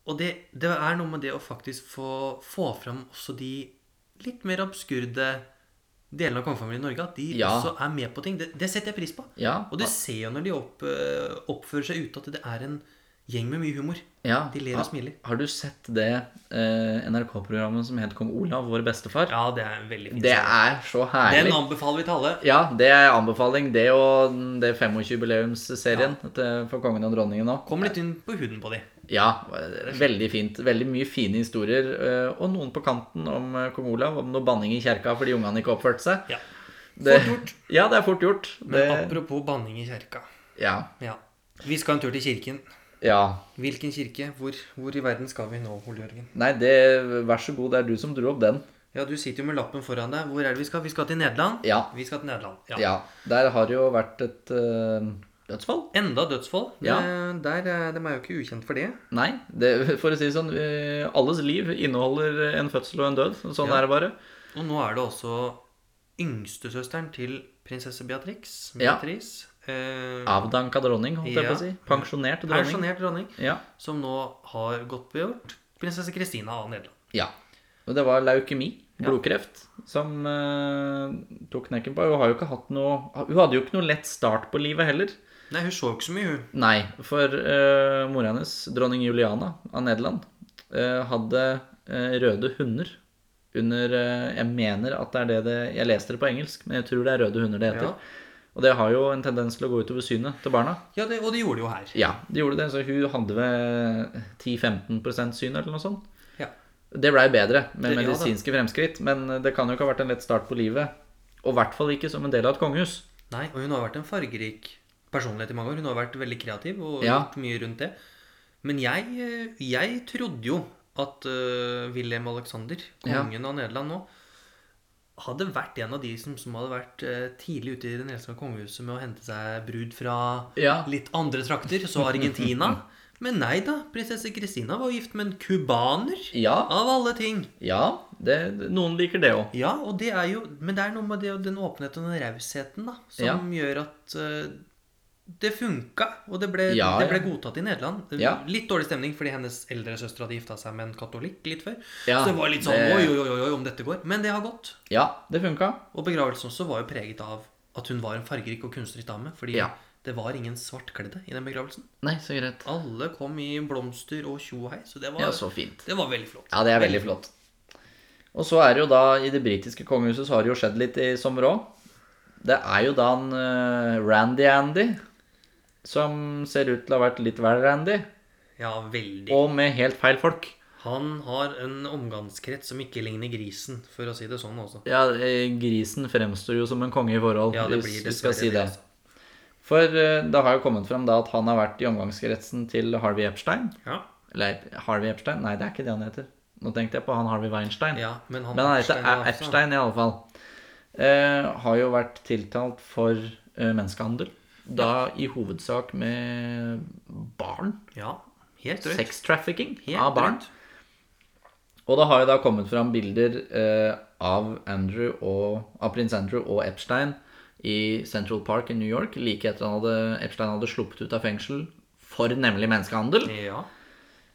Og det, det er noe med det å faktisk få, få fram også de litt mer absurde delene av kongefamilien i Norge. At de
Ja.
også er med på ting. Det, det setter jeg pris på.
Ja.
Og du ser jo når de opp, eh, oppfører seg ute, at det er en gjeng med mye humor.
ja.
De ler og smiler.
Har du sett det eh, NRK-programmet som het Kong Olav, vår bestefar?
Ja, det er en veldig fint.
Det er så herlig.
Den anbefaler vi til alle.
Ja, det er anbefaling. Det og den- det 25-jubileumsserien til- for kongen og dronningen nå.
Kom litt inn på huden på de.
Ja, veldig fint. Veldig mye fine historier. eh, Og noen på kanten om eh, kong Olav, om noe banning i kjerka fordi ungene ikke oppførte seg.
Ja.
Det,
Fort gjort.
Ja, det er fort gjort.
Men
Det,
apropos banning i kjerka.
ja.
Ja. Vi skal en tur til kirken.
ja.
Hvilken kirke? Hvor, hvor i verden skal vi nå, Ole Jørgen?
Nei, det, vær så god, det er du som dro opp den.
Ja, du sitter jo med lappen foran deg. Hvor er det vi skal? Vi skal til Nederland.
Ja.
Vi skal til Nederland. Ja.
Ja. Der har det jo vært et eh, dødsfall.
Enda dødsfall.
Ja.
Det, der, eh, de er jo ikke ukjent for det.
Nei, det, for å si det sånn, eh, alles liv inneholder en fødsel og en død. Sånn
Ja.
er det bare.
Og nå er det også yngstesøsteren til prinsesse Beatrix.
Ja.
Beatrice. Eh,
Avdanka dronning, holdt jeg
Ja. Mm.
på å si. Pensjonert dronning.
Pensjonert dronning.
Ja.
Som nå har gått begjort. Prinsesse Kristina av Nederland.
ja. Og det var leukemi, blodkreft, som eh, tok knekken på. Hun har jo ikke hatt noe Hun hadde jo ikke noe lett start på livet heller.
Nei, hun så jo ikke så mye, hun.
Nei, for uh, mora hennes, dronning Juliana av Nederland, eh, hadde eh, røde hunder under eh, Jeg mener at det er det det Jeg leste det på engelsk, men jeg tror det er røde hunder det heter.
Ja.
Og det har jo en tendens til å gå utover synet til barna.
Ja, det, og det gjorde de jo her.
Ja, det gjorde det. Så hun hadde ved 10-15 syn eller noe sånt.
Ja.
Det blei bedre med
Det- ja da.
medisinske fremskritt, men det kan jo ikke ha vært en lett start på livet. Og i hvert fall ikke som en del av et kongehus.
Nei, og hun har vært en fargerik personlighet i mange år. Hun har vært veldig kreativ og
Ja.
gjort mye rundt det. Men jeg, eh, jeg trodde jo at eh, Wilhelm Alexander,
Ja.
kongen av Nederland nå, hadde vært en av de som, som hadde vært eh, tidlig ute i det nederlandske kongehuset med å hente seg brud fra
Ja.
litt andre trakter, så Argentina. Men nei da, prinsesse Christina var gift med en cubaner.
Ja,
Av alle ting.
ja det, noen liker det òg.
Ja, og det er jo Men det er noe med det, den åpenheten og den rausheten da, som
Ja.
gjør at eh, det funka, og det ble,
Ja,
det ble
ja.
godtatt i Nederland.
Ja.
Litt dårlig stemning fordi hennes eldre søster hadde gifta seg med en katolikk litt før.
Ja,
så det var litt sånn
det-
oi, oi, oi, oi, om dette går. Men det har gått.
Ja, det funka.
Og begravelsen også var jo preget av at hun var en fargerik og kunstnerisk dame. Fordi
Ja.
det var ingen svartkledde i den begravelsen.
Nei, så greit.
Alle kom i blomster og tjo og hei, så det var,
Ja, så fint.
det var veldig flott.
Ja, det er veldig flott. Og så er det jo da, i det britiske kongehuset, så har det jo skjedd litt i sommer òg. Det er jo da en eh, Randy Andy, som ser ut til å ha vært litt vel Randy,
Ja, veldig.
og med helt feil folk.
Han har en omgangskrets som ikke ligner grisen, for å si det sånn også.
Ja, eh, grisen fremstår jo som en konge i forhold,
Ja, det blir
hvis vi skal
dessverre
si
det,
det.
altså.
For eh, det har jo kommet fram da at han har vært i omgangskretsen til Harvey Epstein.
Ja,
Eller Harvey Epstein? Nei, det er ikke det han heter. Nå tenkte jeg på han Harvey Weinstein.
ja men han
Men han
Epstein
heter
var
Epstein,
også-
i alle fall. Eh, har jo vært tiltalt for eh, menneskehandel. Da i hovedsak med barn.
Ja, helt drøyt.
Sex trafficking
Helt
av barn.
drøyt.
Og det har jo da kommet fram bilder eh, av, Andrew og, av prins Andrew og Epstein i Central Park i New York like etter han hadde, Epstein hadde sluppet ut av fengsel for nemlig menneskehandel.
Ja.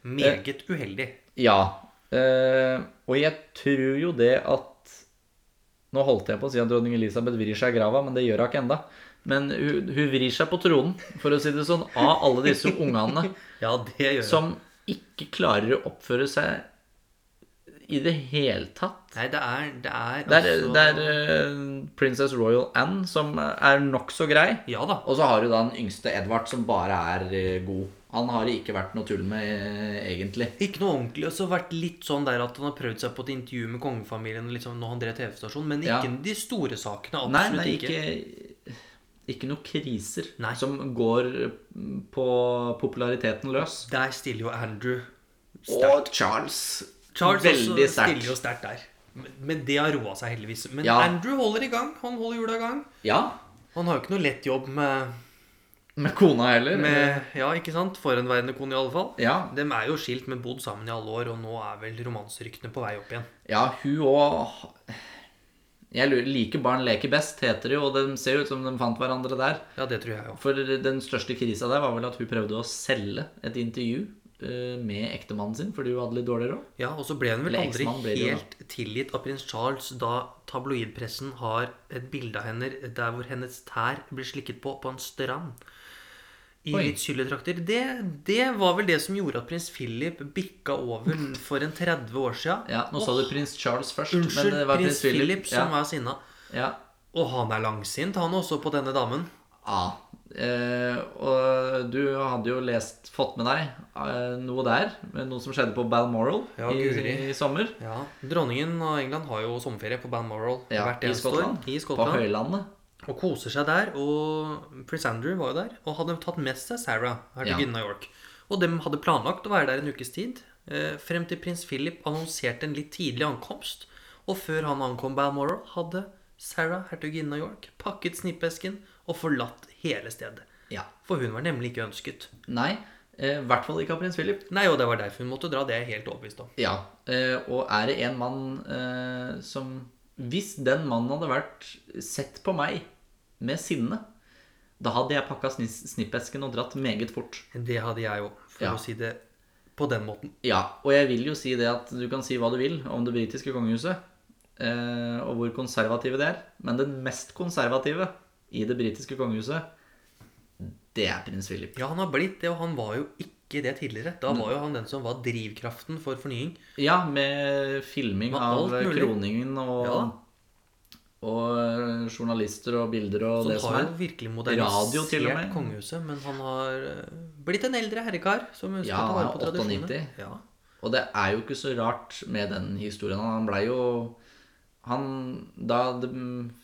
Meget uheldig.
Ja. Eh, og jeg tror jo det at Nå holdt jeg på å si at dronning Elisabeth vrir seg i grava, men det gjør hun ikke enda. Men hun, hun vrir seg på tronen, for å si det sånn, av alle disse ungene
Ja, det gjør
som ikke klarer å oppføre seg i det hele tatt.
Nei, det er Det er,
Det er,
altså-
det er eh, Princess Royal Anne som er nokså grei.
Ja da.
Og så har du da den yngste Edvard som bare er eh, god. Han har det ikke vært noe tull med, eh, egentlig.
Ikke noe ordentlig. Og så vært litt sånn der at han har prøvd seg på et intervju med kongefamilien og liksom, når han drev TV-stasjon, men
Ja.
ikke de store sakene. Absolutt
Nei, det er
ikke.
ikke, ikke noe kriser
Nei.
som går på populariteten løs.
Der stiller jo Andrew
Og Charles.
Charles
Veldig
også stiller jo
sterkt.
sterkt der. Men det har roa seg heldigvis. Men
Ja.
Andrew holder i gang. Han holder hjula i gang.
Ja.
Han har jo ikke noe lett jobb med,
Med kona heller.
med Ja, ikke sant? Forhenværende kone, i alle fall.
Ja.
De er jo skilt, men bodd sammen i alle år, og nå er vel romanseryktene på vei opp igjen.
ja, hun òg Jeg lurer Like barn leker best, heter det jo, og de ser jo ut som de fant hverandre der.
Ja, det tror jeg jo.
For den største krisa der var vel at hun prøvde å selge et intervju eh, med ektemannen sin fordi hun hadde litt dårlig råd.
Ja, og så ble hun vel
Eller
aldri
eksmannen ble det jo da.
helt tilgitt av prins Charles da tabloidpressen har et bilde av henne der hvor hennes tær blir slikket på på en strand. I
Oi.
litt sylletrakter. Det, det var vel det som gjorde at prins Philip bikka over for en 30 år sia.
Ja, nå sa du prins Charles først,
Unnskyld,
men det var
prins Philip som
ja.
var sinna.
ja.
Og han er langsint, han også, på denne damen.
Ja. Eh, og du hadde jo lest, fått med deg eh, noe der, med noe som skjedde på Balmoral
Ja,
i,
guri.
i sommer.
Ja, Dronningen av England har jo sommerferie på Balmoral
Ja,
hvert
I
eneste år.
Skottland.
I
På
Skottland.
høylandet.
Og koser seg der. Og prins Andrew var jo der. Og hadde tatt med seg Sarah, hertuginnen av York. Og de hadde planlagt å være der en ukes tid. eh, Frem til prins Philip annonserte en litt tidlig ankomst. Og før han ankom Balmoral, hadde Sarah, hertuginnen av York, pakket snippesken og forlatt hele stedet.
Ja.
For hun var nemlig ikke ønsket.
Nei, eh, i hvert fall ikke av prins Philip.
Nei, og det var derfor hun måtte dra. Det er jeg helt overbevist om.
Ja, eh, og er det en mann eh, som Hvis den mannen hadde vært sett på meg med sinne, da hadde jeg pakka snis- snippesken og dratt meget fort.
Det hadde jeg òg, for
Ja.
å si det på den måten.
Ja, og jeg vil jo si det at du kan si hva du vil om det britiske kongehuset, eh, og hvor konservative det er, men den mest konservative i det britiske kongehuset, det er prins Philip.
Ja, han har blitt det, og han var jo ikke det tidligere. Da var jo han den som var drivkraften for fornying.
Ja, med filming
Med
av
alt mulig.
kroningen og,
Ja.
og eh, journalister og bilder og
Som
det som
har
er.
jo virkelig
Radio til og
modernisert
med.
kongehuset, men han har eh, blitt en eldre herrekar som ønsker
Ja,
å ta vare på
han er
tradisjonene.
98.
Ja.
Og det er jo ikke så rart med den historien. Han blei jo Han Da det mm,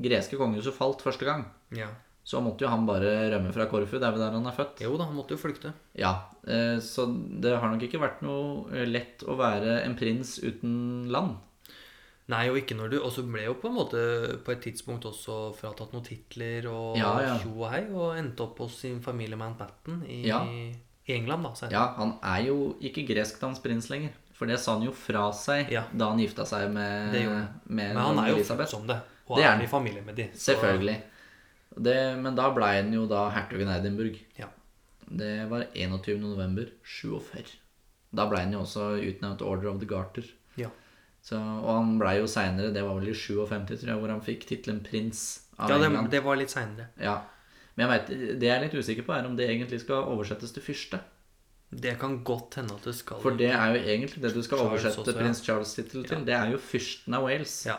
greske kongehuset falt første gang,
ja.
så måtte jo han bare rømme fra Korfu. Det er vel der han er født.
Jo da, han måtte jo flykte.
Ja, eh, Så det har nok ikke vært noe eh, lett å være en prins uten land.
Nei, og ikke når du Og så ble jo på en måte på et tidspunkt også fratatt noen titler og
Ja, ja.
tjo og hei, og endte opp hos sin familie Mountbatten i,
Ja.
i England, da. senere.
Ja, han er jo ikke greskdans prins lenger. For det sa han jo fra seg
Ja.
da han gifta seg med,
Det gjorde han.
med
Men han er jo født
Elisabeth.
som det, og
Det er
er,
han.
i familie med de. så-
Selvfølgelig. Det, men da blei han jo da hertugen av Edinburgh.
Ja.
Det var 21. november 47. Da ble han jo også utnevnt Order of the Garter.
Ja.
Så, og han ble jo seinere, det var vel i 57, tror jeg, hvor han fikk tittelen prins av
Ja, det,
England.
det var litt seinere.
Ja. Men jeg vet, det jeg er litt usikker på, er om det egentlig skal oversettes til fyrste.
Det kan godt hende at det skal
For det er jo egentlig det du skal
Charles
oversette
også, ja.
prins Charles-tittel til. Det er jo fyrsten av Wales.
Ja.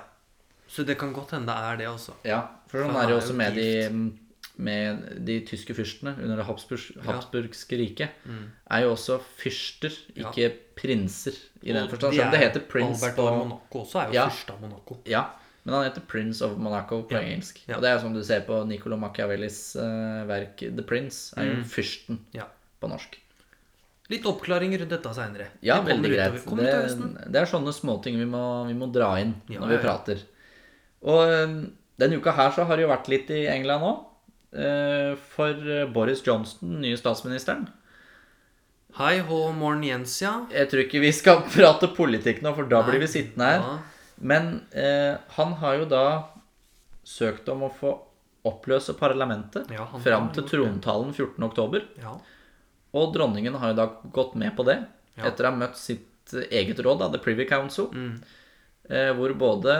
Så det kan godt hende det er det, altså.
Ja, for sånn
For han
er det
er
jo også
jo
med de, med de tyske fyrstene under det Habsburg, habsburgske riket.
Mm.
Er jo også fyrster, ikke prinser, i den forstand. Selv om det heter prins
Albert
på
av Monaco også er jo
Ja.
fyrste av Monaco.
Ja, men han heter Prince of Monaco på engelsk.
Ja.
Og det er jo som du ser på Niccolo Machiavellis eh, verk The Prince, er jo
Mm.
fyrsten
Ja.
på norsk.
Litt oppklaring rundt dette seinere.
Ja, veldig greit.
Kommer
Det,
utover høsten.
det er sånne småting vi, må- vi må dra inn
Ja,
når vi
ja, ja.
prater. Og eh, denne uka her så har det jo vært litt i England òg. For eh, Boris Johnson, den nye statsministeren.
Hei hå, morgen Jens, ja.
Jeg tror ikke vi skal prate politikk nå, for da blir
Nei,
vi sittende her.
ja.
Men eh, han har jo da søkt om å få oppløse parlamentet
Ja, han
fram
har
til
gjort
trontalen 14.10.
ja.
Og dronningen har jo da gått med på det,
Ja.
etter å ha møtt sitt eget råd, da, The Privy Council, eh, hvor både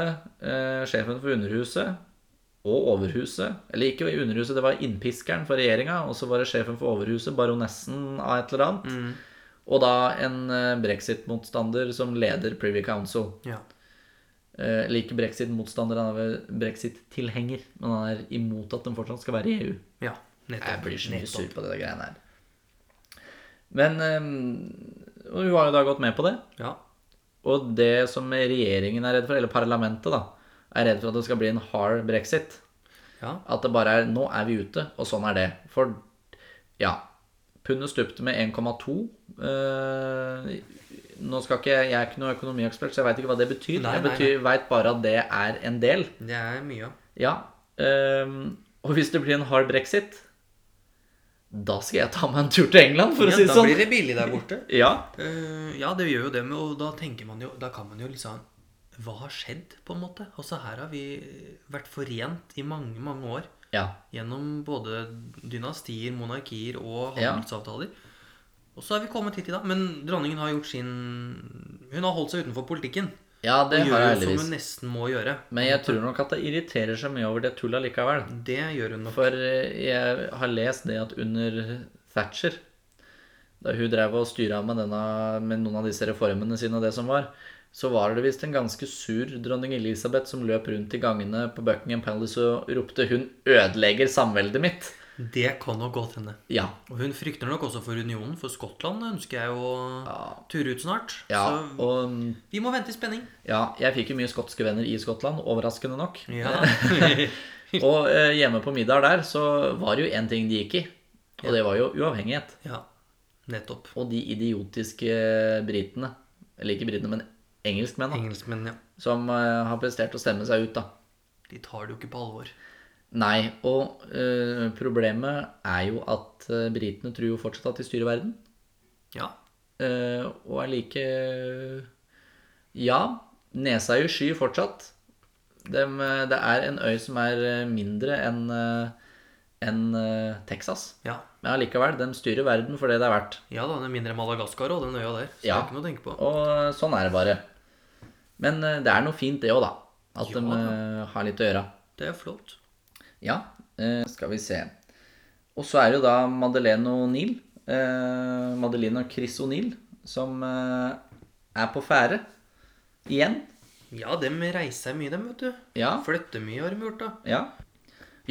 eh, sjefen for Underhuset og Overhuset Eller ikke Underhuset, det var innpiskeren for regjeringa, og så var det sjefen for Overhuset, baronessen av et eller
Mm.
annet, og da en eh, brexit-motstander som leder Privy Council.
ja.
Eh, eller ikke brexit-motstander, han er vel brexit-tilhenger, men han er imot at de fortsatt skal være i E EU.
Ja. Nettopp.
Jeg blir så mye
nettopp.
sur på det der greiene her. Men eh, og hun har jo da gått med på det.
Ja.
Og det som regjeringen er redd for, eller parlamentet, da, er redd for at det skal bli en hard brexit.
ja.
At det bare er Nå er vi ute, og sånn er det. For ja Pundet stupte med 1,2 eh, nå skal ikke, Jeg er ikke noen økonomiekspert, så jeg veit ikke hva det betyr.
Nei,
jeg
nei,
betyr, veit bare at det er en del.
Det er mye av.
Ja. ehm, og hvis det blir en hard brexit, da skal jeg ta meg en tur til England, for
Ja,
å si det
da
sånn.
blir det billig der borte.
Ja.
Eh, ja, det gjør jo det, men- og da tenker man jo Da kan man jo liksom Hva har skjedd, på en måte? Altså, her har vi vært forent i mange, mange år.
ja.
Gjennom både dynastier, monarkier og
Ja.
handelsavtaler. Og så er vi kommet hit i dag. Men dronningen har gjort sin Hun har holdt seg utenfor politikken.
Ja, det
og
har jeg
gjør jo som hun
heldigvis.
nesten må gjøre.
Men jeg tror nok at det irriterer seg mye over det tullet likevel.
Det gjør hun nok.
For eh, jeg har lest det at under Thatcher, da hun drev og styra med, denne- med noen av disse reformene sine og det som var, så var det visst en ganske sur dronning Elisabeth som løp rundt i gangene på Buckingham Palace og ropte 'Hun ødelegger samveldet mitt'.
Det kan nok godt hende.
Ja.
Og hun frykter nok også for unionen, for Skottland ønsker jeg å ture ut snart.
ja
Så
og
vi må vente i spenning.
ja, jeg fikk jo mye skotske venner i Skottland, overraskende nok.
Ja.
Og eh, hjemme på middag der så var det jo én ting de gikk i, og det var jo uavhengighet.
ja. Nettopp.
Og de idiotiske britene, eller ikke britene, men engelskmennene,
Engelskmennene, ja.
som eh, har prestert å stemme seg ut, da.
De tar det jo ikke på alvor.
Nei, og eh, problemet er jo at eh, britene tror jo fortsatt at de styrer verden,
Ja.
eh, og er like Ja, nesa er jo sky fortsatt. Dem, eh, det er en øy som er eh, mindre enn eh, enn, eh, Texas.
Ja.
Men allikevel, de styrer verden for det det er verdt.
ja da, den er mindre enn Madagaskar og den øya der. Så
Ja.
det er ikke noe å tenke på.
Og sånn er det bare. Men eh, det er noe fint det òg, da. At
Ja,
de eh, har litt å gjøre.
Det er flott.
Ja, eh, skal vi se. Og så er det jo da Madeleine O'Neill. eh, Madeleine og Chris O'Neill som eh, er på ferde igjen.
Ja, dem reiser mye, dem, vet du.
Ja,
Flytter mye, har de gjort, da.
ja.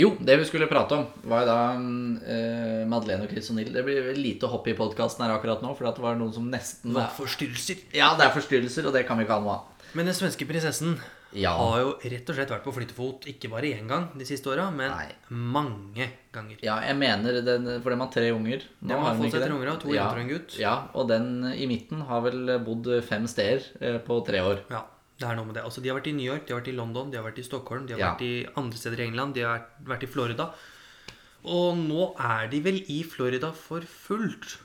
Jo, det vi skulle prate om, var jo da mm, eh, Madeleine og Chris O'Neill. Det blir vel lite hopp i podkasten her akkurat nå, for at det var noen som nesten var
forstyrrelser.
Ja, det er forstyrrelser, og det kan vi ikke ha noe av.
Men den svenske prinsessen
Ja.
har jo rett og slett vært på flyttefot ikke bare én gang de siste åra, men
Nei.
mange ganger.
Ja, jeg mener den, for de har tre unger. Nå
De
de
har fått
ikke
seg
det.
tre unger, og to
ja.
jenter og en gutt.
Ja, og den i midten har vel bodd fem steder eh, på tre år.
Ja, det er noe med det. Altså, de har vært i New York, de har vært i London, de har vært i Stockholm, de har
Ja.
vært i andre steder i England, de har vært, vært i Florida. Og nå er de vel i Florida for fullt.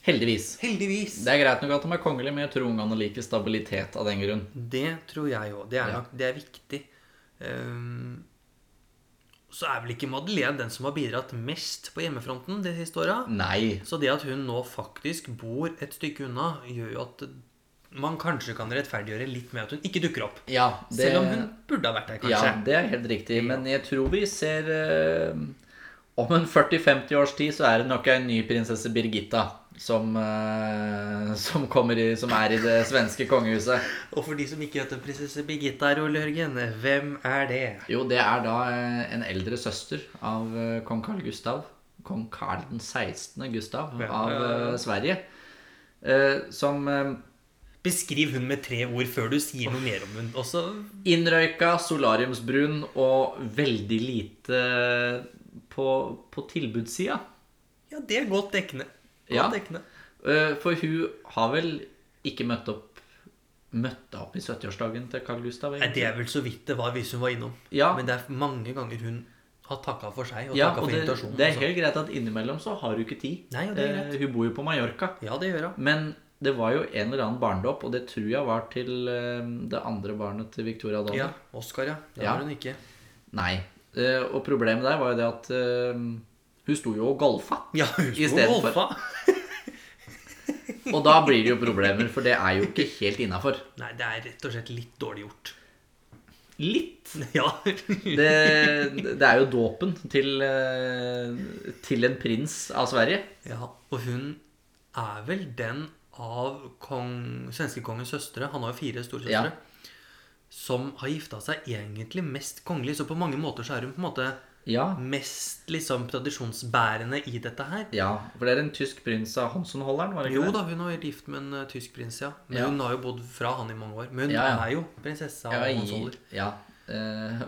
Heldigvis.
Heldigvis.
Det er greit nok at de er kongelige, men jeg tror ungene liker stabilitet av den grunn.
Det tror jeg òg. Det er
Ja.
nok det er viktig. Ehm, så er vel ikke Madeleine den som har bidratt mest på hjemmefronten de siste åra.
Nei.
Så det at hun nå faktisk bor et stykke unna, gjør jo at man kanskje kan rettferdiggjøre litt med at hun ikke dukker opp.
Ja, det,
Selv om hun burde ha vært der,
ja,
kanskje.
det er helt riktig, men jeg tror vi ser eh, Om en 40-50 års tid så er det nok en ny prinsesse Birgitta som, eh, som, kommer i, som er i det svenske kongehuset.
Og for de som ikke heter prinsesse Birgitta Role Jørgen, hvem er det?
Jo, det er da eh, en eldre søster av eh, kong Carl Gustav. Kong Carl den 16. Gustav
Ja.
av eh, Sverige. eh, Som eh,
Beskriv hun med tre ord før du sier noe mer om hun også.
innrøyka, solariumsbrun og veldig lite eh, på, på tilbudssida.
Ja, det er godt dekkende. Godt
Ja.
dekkende.
Eh, For hun har vel ikke møtt opp Møtt opp i 70-årsdagen til Carl Gustav?
Nei,
egentlig?
det er vel så vidt det var hvis hun var innom.
Ja.
Men det er mange ganger hun har takka for seg og
Ja,
takka
og
for
det,
invitasjonen.
det er
altså.
helt greit at innimellom så har hun ikke tid.
Nei, og det er
Eh,
greit.
Hun bor jo på Mallorca.
Ja, det gjør hun.
Men det var jo en eller annen barndom, og det tror jeg var til eh, det andre barnet til Victoria Donner.
Ja, Oscar, ja. Det
Ja.
har hun ikke.
Nei. Eh, Og problemet der var jo det at eh, hun sto jo og golfa.
Ja, hun
I
skulle
stedet for-
golfa.
Og da blir det jo problemer, for det er jo ikke helt innafor.
Nei, det er rett og slett litt dårlig gjort.
Litt.
Ja.
Det, det er jo dåpen til, eh, til en prins av Sverige.
ja. Og hun er vel den av kong, svenskekongens søstre, han har jo fire storesøstre,
Ja.
som har gifta seg egentlig mest kongelig. Så på mange måter så er hun på en måte
Ja.
mest liksom tradisjonsbærende i dette her.
ja. For det er en tysk prins av Hansenholderen, var det
Jo
ikke det?
da, hun har vært gift med en eh, tysk prins, ja. Men
Ja.
hun har jo bodd fra han i mange år. Men hun
Ja, ja.
er jo prinsesse av
Ja,
hans
i,
alder.
ja. Eh,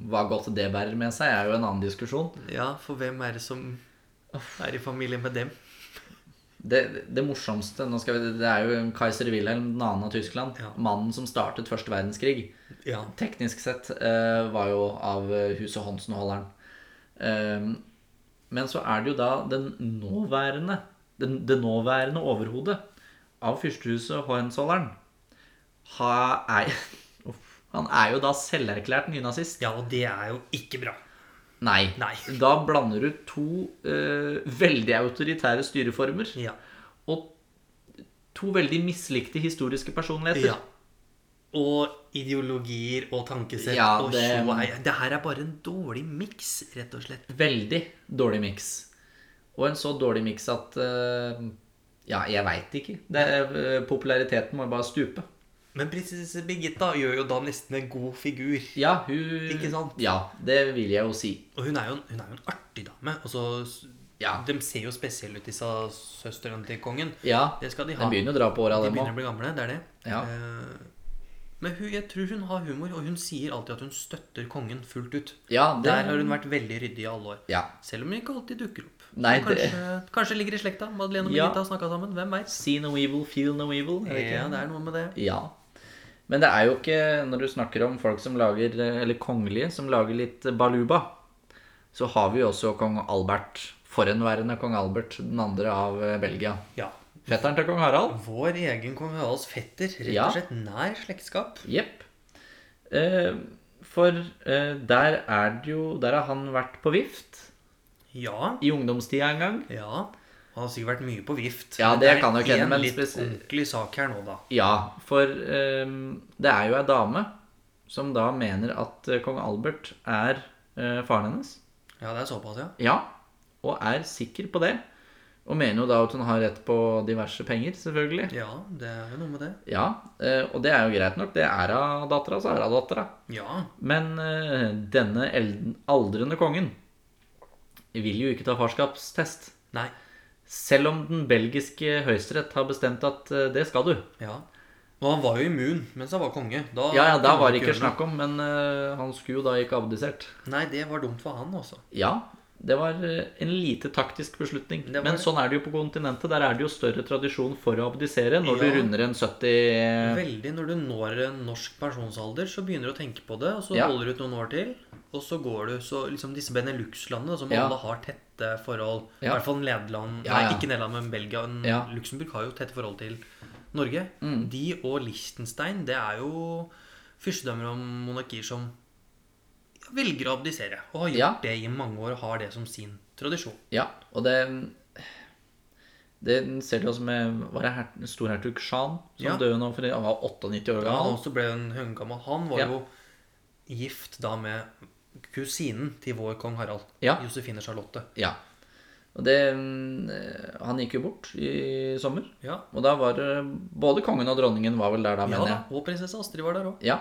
hva godt det bærer med seg, er jo en annen diskusjon.
Ja, for hvem er det som er i familie med dem?
det, det morsomste nå skal vi, Det er jo Kaiser Wilhelm 2. av Tyskland.
Ja.
Mannen som startet første verdenskrig.
Ja.
Teknisk sett eh, var jo av eh, huset Hansen-holderen. Ehm, men så er det jo da den nåværende den, Det nåværende overhodet av fyrstehuset Hohenzollern ha, er, Uff. Han er jo da selverklært nynazist.
ja, og det er jo ikke bra.
Nei.
Nei.
Da blander du to eh, veldig autoritære styreformer
Ja.
og to veldig mislikte historiske personligheter.
ja. Og ideologier og tankesett
Ja,
og
det-
tjo og hei. Det her er bare en dårlig miks, rett og slett.
Veldig dårlig miks. Og en så dårlig miks at eh, Ja, jeg veit ikke. Det, eh, populariteten må bare stupe.
Men prinsesse Birgitta gjør jo da nesten en god figur.
Ja, hun
Ikke sant?
Ja, det vil jeg jo si.
Og hun er jo en, hun er jo en artig dame. Og så,
Ja.
De ser jo spesielle ut, disse søstrene til kongen.
Ja,
Det skal de ha.
Den begynner å dra på åra,
De
dem
begynner
òg.
å bli gamle, det er det.
Ja.
Eh, Men hun, jeg tror hun har humor, og hun sier alltid at hun støtter kongen fullt ut.
Ja, det-
Der har hun vært veldig ryddig i alle år.
Ja.
Selv om hun ikke alltid dukker opp.
Nei,
Hun
det-
kanskje, kanskje ligger i slekta. Madeleine og
Ja.
Birgitta har snakka sammen. Hvem veit?
See no evil, feel no evil. er det ikke?
Ja, det er noe med det.
Ja. Men det er jo ikke Når du snakker om folk som lager Eller kongelige som lager litt baluba, så har vi jo også kong Albert. Forhenværende kong Albert, den andre av eh, Belgia.
Ja.
Fetteren til kong Harald.
Vår egen kong Haralds fetter. Rett
Ja.
og slett nær slektskap.
Jepp. Eh, for eh, der er det jo Der har han vært på vift
Ja.
i ungdomstida en gang.
Ja. Han har sikkert vært mye på vift.
Ja,
Men
det
er
kan nok hende,
en
men
litt
spes-
ordentlig sak her nå, da.
Ja, for eh, det er jo ei dame som da mener at eh, kong Albert er eh, faren hennes.
Ja, det er såpass, ja.
Ja, og er sikker på det. Og mener jo da at hun har rett på diverse penger, selvfølgelig.
Ja, det er jo noe med det.
Ja, eh, og det er jo greit nok. Det er av dattera, så er det av dattera.
Ja.
Men eh, denne eld- aldrende kongen vil jo ikke ta farskapstest.
Nei.
Selv om den belgiske høyesterett har bestemt at eh, det skal du.
Ja. Og han var jo immun mens han var konge. Da
Ja, ja, da
kunne han
var det ikke
gjøre noe.
snakk om, men eh, han skulle jo da ikke abdisert.
Nei, det var dumt for han altså. også.
Ja, det var eh, en lite taktisk beslutning.
Det var
Men
det.
sånn er det jo på kontinentet. Der er det jo større tradisjon for å abdisere når
Ja.
du runder en eh, 70
Veldig når du når en norsk pensjonsalder, så begynner du å tenke på det, og så
Ja.
holder du ut noen år til, og så går du så liksom disse Benelux-landene, som
Ja.
alle har tette forhold I
Ja.
hvert fall Nederland
Ja, ja.
Nei, ikke Nederland, men Belgia. men
Ja. Mm.
Luxembourg har jo tette forhold til Norge. De og Liechtenstein, det er jo fyrstedømmer og monarkier som velger å abdisere, og har gjort
Ja.
det i mange år, og har det som sin tradisjon.
Ja, og det Det ser du også med Var det her, storhertug Shan som
Ja.
døde nå? For han var 98 år
Ja, han
gammel.
også ble en høngammal. Han var
Ja.
jo gift da med kusinen til vår kong Harald.
Ja.
Josefine Charlotte.
Ja. Og det eh, Han gikk jo bort i sommer.
Ja.
Og da var det Både kongen og dronningen var vel der da,
ja
mener
da.
jeg.
Og prinsesse Astrid var der òg.
Ja.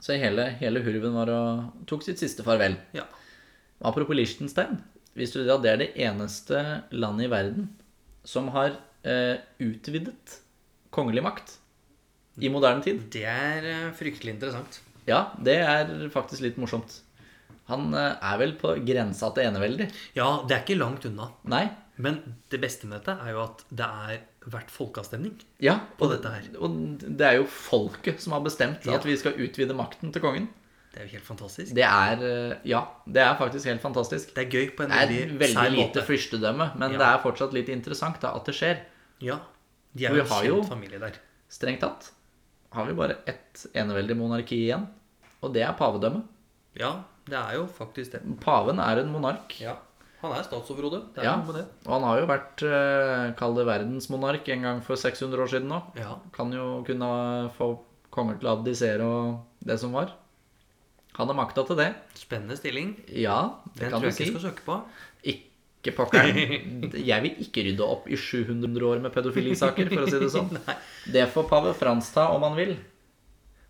Så hele, hele hurven var og tok sitt siste farvel.
Ja.
Apropos Liechtenstein. Visste du at det er det eneste landet i verden som har eh, utvidet kongelig makt i moderne tid?
Det er eh, fryktelig interessant.
Ja, det er faktisk litt morsomt. Han eh, er vel på grensa til eneveldig.
Ja, det er ikke langt unna.
Nei.
Men det beste med dette er jo at det er vært folkeavstemning.
Ja,
På dette her.
Og det er jo folket som har bestemt
Ja.
at vi skal utvide makten til kongen.
Det er jo helt fantastisk.
Det er eh, Ja, det er faktisk helt fantastisk.
Det er gøy på en
Det er
veldig,
veldig
sær
lite
måte.
fyrstedømme, men
Ja.
det er fortsatt litt interessant da, at det skjer.
Ja.
Og
De er
vi
jo en
har
kjent
jo-
familie der.
Strengt tatt har vi bare ett eneveldig monarki igjen, og det er pavedømmet.
Ja, det er jo faktisk det.
Paven er en monark,
Ja. Han er statsoverhode. Det er
Ja.
noe med det.
og han har jo vært, eh, kall det verdensmonark, en gang for 600 år siden nå.
Ja.
Kan jo kunne få konger til å abdisere og det som var. Han har makta til det.
Spennende stilling.
Ja, det
Den
kan
tror
du
jeg ikke
si.
jeg skal søke på.
Ikke pokkeren. Jeg vil ikke rydde opp i 700 år med pedofilisaker, for å si det sånn.
Nei.
Det får pave Frans ta om han vil.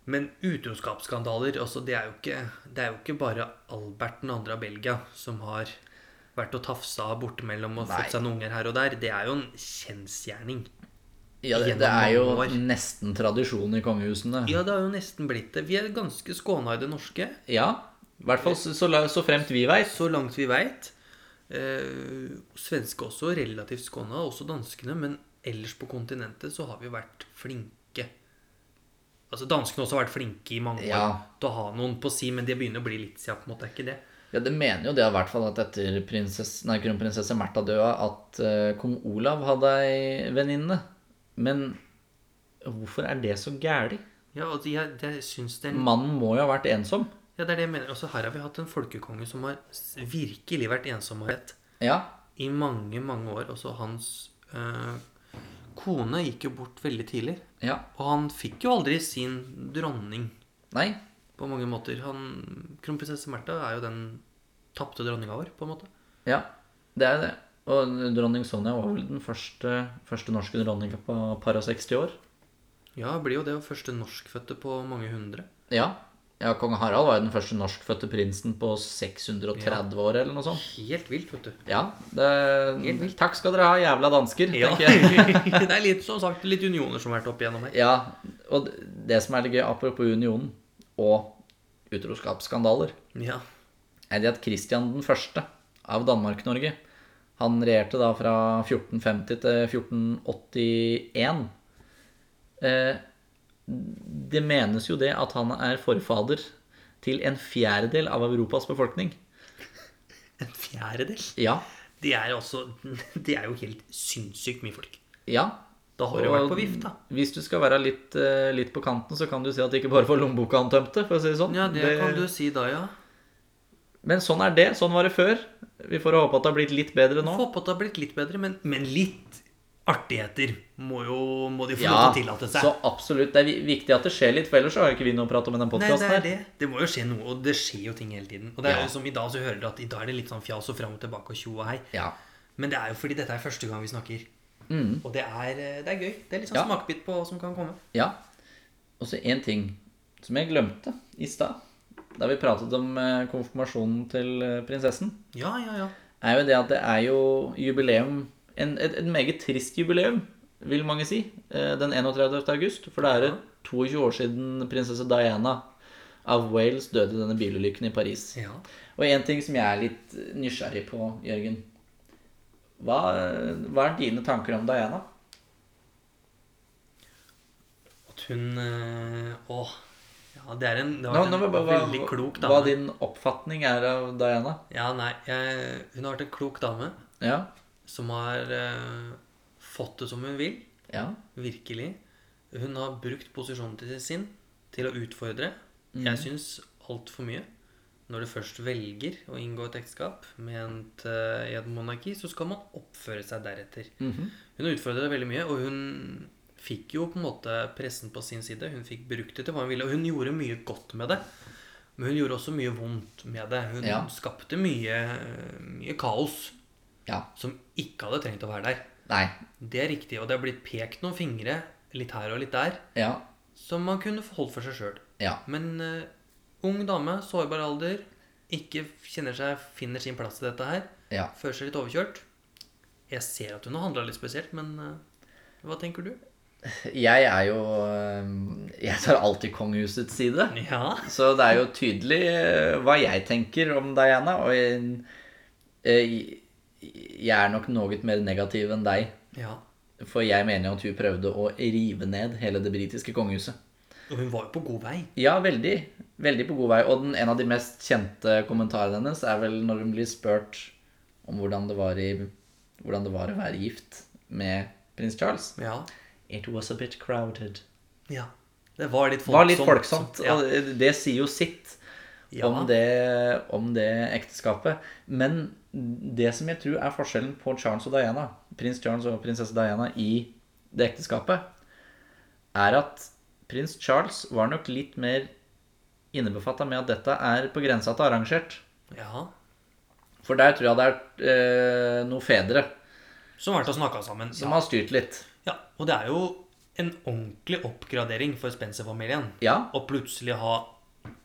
Men utroskapsskandaler altså, det, er jo ikke, det er jo ikke bare Albert den andre av Belgia som har vært og tafsa bortimellom og
Nei.
fått seg noen unger her og der. Det er jo en kjensgjerning.
Ja, det,
Gjennom
det er jo
mange år.
nesten tradisjon i kongehusene.
Ja, det har jo nesten blitt det. Vi er ganske skåna i det norske,
Ja, i hvert fall så, så, la- så fremt vi veit.
så langt vi veit. Eh, svenske også, relativt skåna, også danskene. Men ellers på kontinentet så har vi jo vært flinke. Altså Danskene også har vært flinke i mange år
Ja.
til å ha noen på si, men det begynner å bli litt siden, på en måte. Er ikke det?
Ja, det mener jo det i hvert fall at etter prinsess, nei, kronprinsesse Märtha døde, at eh, kong Olav hadde ei venninne. Men hvorfor er det så gæli?
Ja, og de, er- det, jeg synes det, er,
Mannen må jo ha vært ensom.
ja, det er det jeg mener. Også her har vi hatt en folkekonge som har s- virkelig vært ensomhet
Ja.
i mange, mange år. Også hans eh, kone gikk jo bort veldig tidlig.
Ja.
Og han fikk jo aldri sin dronning.
Nei.
på mange måter. Han, Kronprinsesse Märtha er jo den tapte dronninga vår, på en måte.
Ja. Det er jo det. Og dronning Sonja var vel den første, første norske dronninga på par og 60 år.
Ja, blir jo det og første norskfødte på mange hundre.
Ja. ja. Kong Harald var jo den første norskfødte prinsen på 630 år, eller noe sånt.
Helt vilt, vet du.
Ja. Det,
Helt vilt.
takk skal dere ha, jævla dansker,
Ja.
tenker jeg.
det er litt, som sagt, litt unioner som har vært opp igjennom her.
Ja, og det- det som er litt gøy, apropos unionen og utroskapsskandaler,
Ja.
er det at Kristian den første av Danmark-Norge, han regjerte da fra 1450 til 1481. Eh, Det menes jo det at han er forfader til en fjerdedel av Europas befolkning.
En fjerdedel.
Ja,
Det er, også, det er jo helt sinnssykt mye folk.
ja.
Da har det jo vært på vift, da.
Hvis du skal være litt, eh, litt på kanten, så kan du si at ikke bare får lommeboka han tømte, for å si det sånn.
Ja, det, kan du si da, ja.
Men sånn er det. Sånn var det før. Vi får håpe at det har blitt litt bedre nå.
Få på at det har blitt litt bedre, men, men litt artigheter må, jo, må de få
Ja,
lov til å tillate seg.
så absolutt. Det er vi- viktig at det skjer litt, for ellers så har jo ikke vi noe å prate om i den
Nei, det
podkasten
er
her.
det. Det må jo skje noe, og det skjer jo ting hele tiden. Og det er
Ja.
jo som I dag så hører du at i dag er det litt sånn fjas og fram og tilbake og tjo og hei.
Ja.
Men det er jo fordi dette er første gang vi snakker.
Mm,
Og det er, eh, det er gøy. Det er litt sånn
Ja.
smakebit på hva som kan komme.
ja. Og så én ting som jeg glemte i stad, da vi pratet om eh, konfirmasjonen til eh, prinsessen,
Ja, ja, ja.
er jo det at det er jo jubileum en, et, et meget trist jubileum, vil mange si, eh, den 31. august. For det er 22 år siden prinsesse Diana av Wales døde i denne bilulykken i Paris.
Ja,
Og en ting som jeg er litt nysgjerrig på, Jørgen. Hva, hva er dine tanker om Diana?
At hun eh, Åh. Ja, det er en det
Nå,
har vært
nå,
en
må jeg bare- hva,
veldig klok
hva
dame.
din oppfatning er av Diana?
Ja, nei, jeg, Hun har vært en klok dame
Ja.
som har eh, fått det som hun vil.
Ja.
Virkelig. Hun har brukt posisjonen til sin til å utfordre.
Mm.
Jeg syns altfor mye. Når du først velger å inngå et ekteskap med en t- i et monarki, så skal man oppføre seg deretter.
Mhm.
Hun har utfordret det veldig mye, og hun fikk jo på en måte pressen på sin side. Hun fikk brukt det til hva hun ville, og hun gjorde mye godt med det. Men hun gjorde også mye vondt med det. Hun
Ja.
skapte mye, mye kaos
ja.
som ikke hadde trengt å være der.
Nei.
Det er riktig, og det har blitt pekt noen fingre litt her og litt der,
Ja.
som man kunne holdt for seg sjøl.
Ja.
Men eh, ung dame, sårbar alder, ikke kjenner seg, finner sin plass i dette her,
Ja.
føler seg litt overkjørt. Jeg ser at hun har handla litt spesielt, men eh, hva tenker du?
Jeg er jo øhm, Jeg tar alltid kongehusets side.
Ja.
Så det er jo tydelig eh, hva jeg tenker om Diana, og jeg, eh, jeg er nok noe mer negativ enn deg.
ja.
For jeg mener jo at hun prøvde å rive ned hele det britiske kongehuset.
Og hun var jo på god vei.
Ja, veldig. Veldig på god vei. Og den, en av de mest kjente kommentarene hennes er vel når hun blir spurt om hvordan det var, i, hvordan det var å være gift med prins Charles.
Ja.
It was a bit crowded.
ja. Det var litt
Det
folksomt.
var litt folksomt.
Ja.
Og det sier jo sitt
Ja.
om, det, om det ekteskapet. Men det som jeg tror er forskjellen på Charles og Diana, prins Charles og prinsesse Diana i det ekteskapet, er at prins Charles var nok litt mer innebefatta med at dette er på grensa til arrangert.
ja.
For der tror jeg det er eh, noen fedre
Som har vært og snakka sammen.
som
Ja.
har styrt litt.
ja. Og det er jo en ordentlig oppgradering for Spencer-familien.
Ja,
Og plutselig ha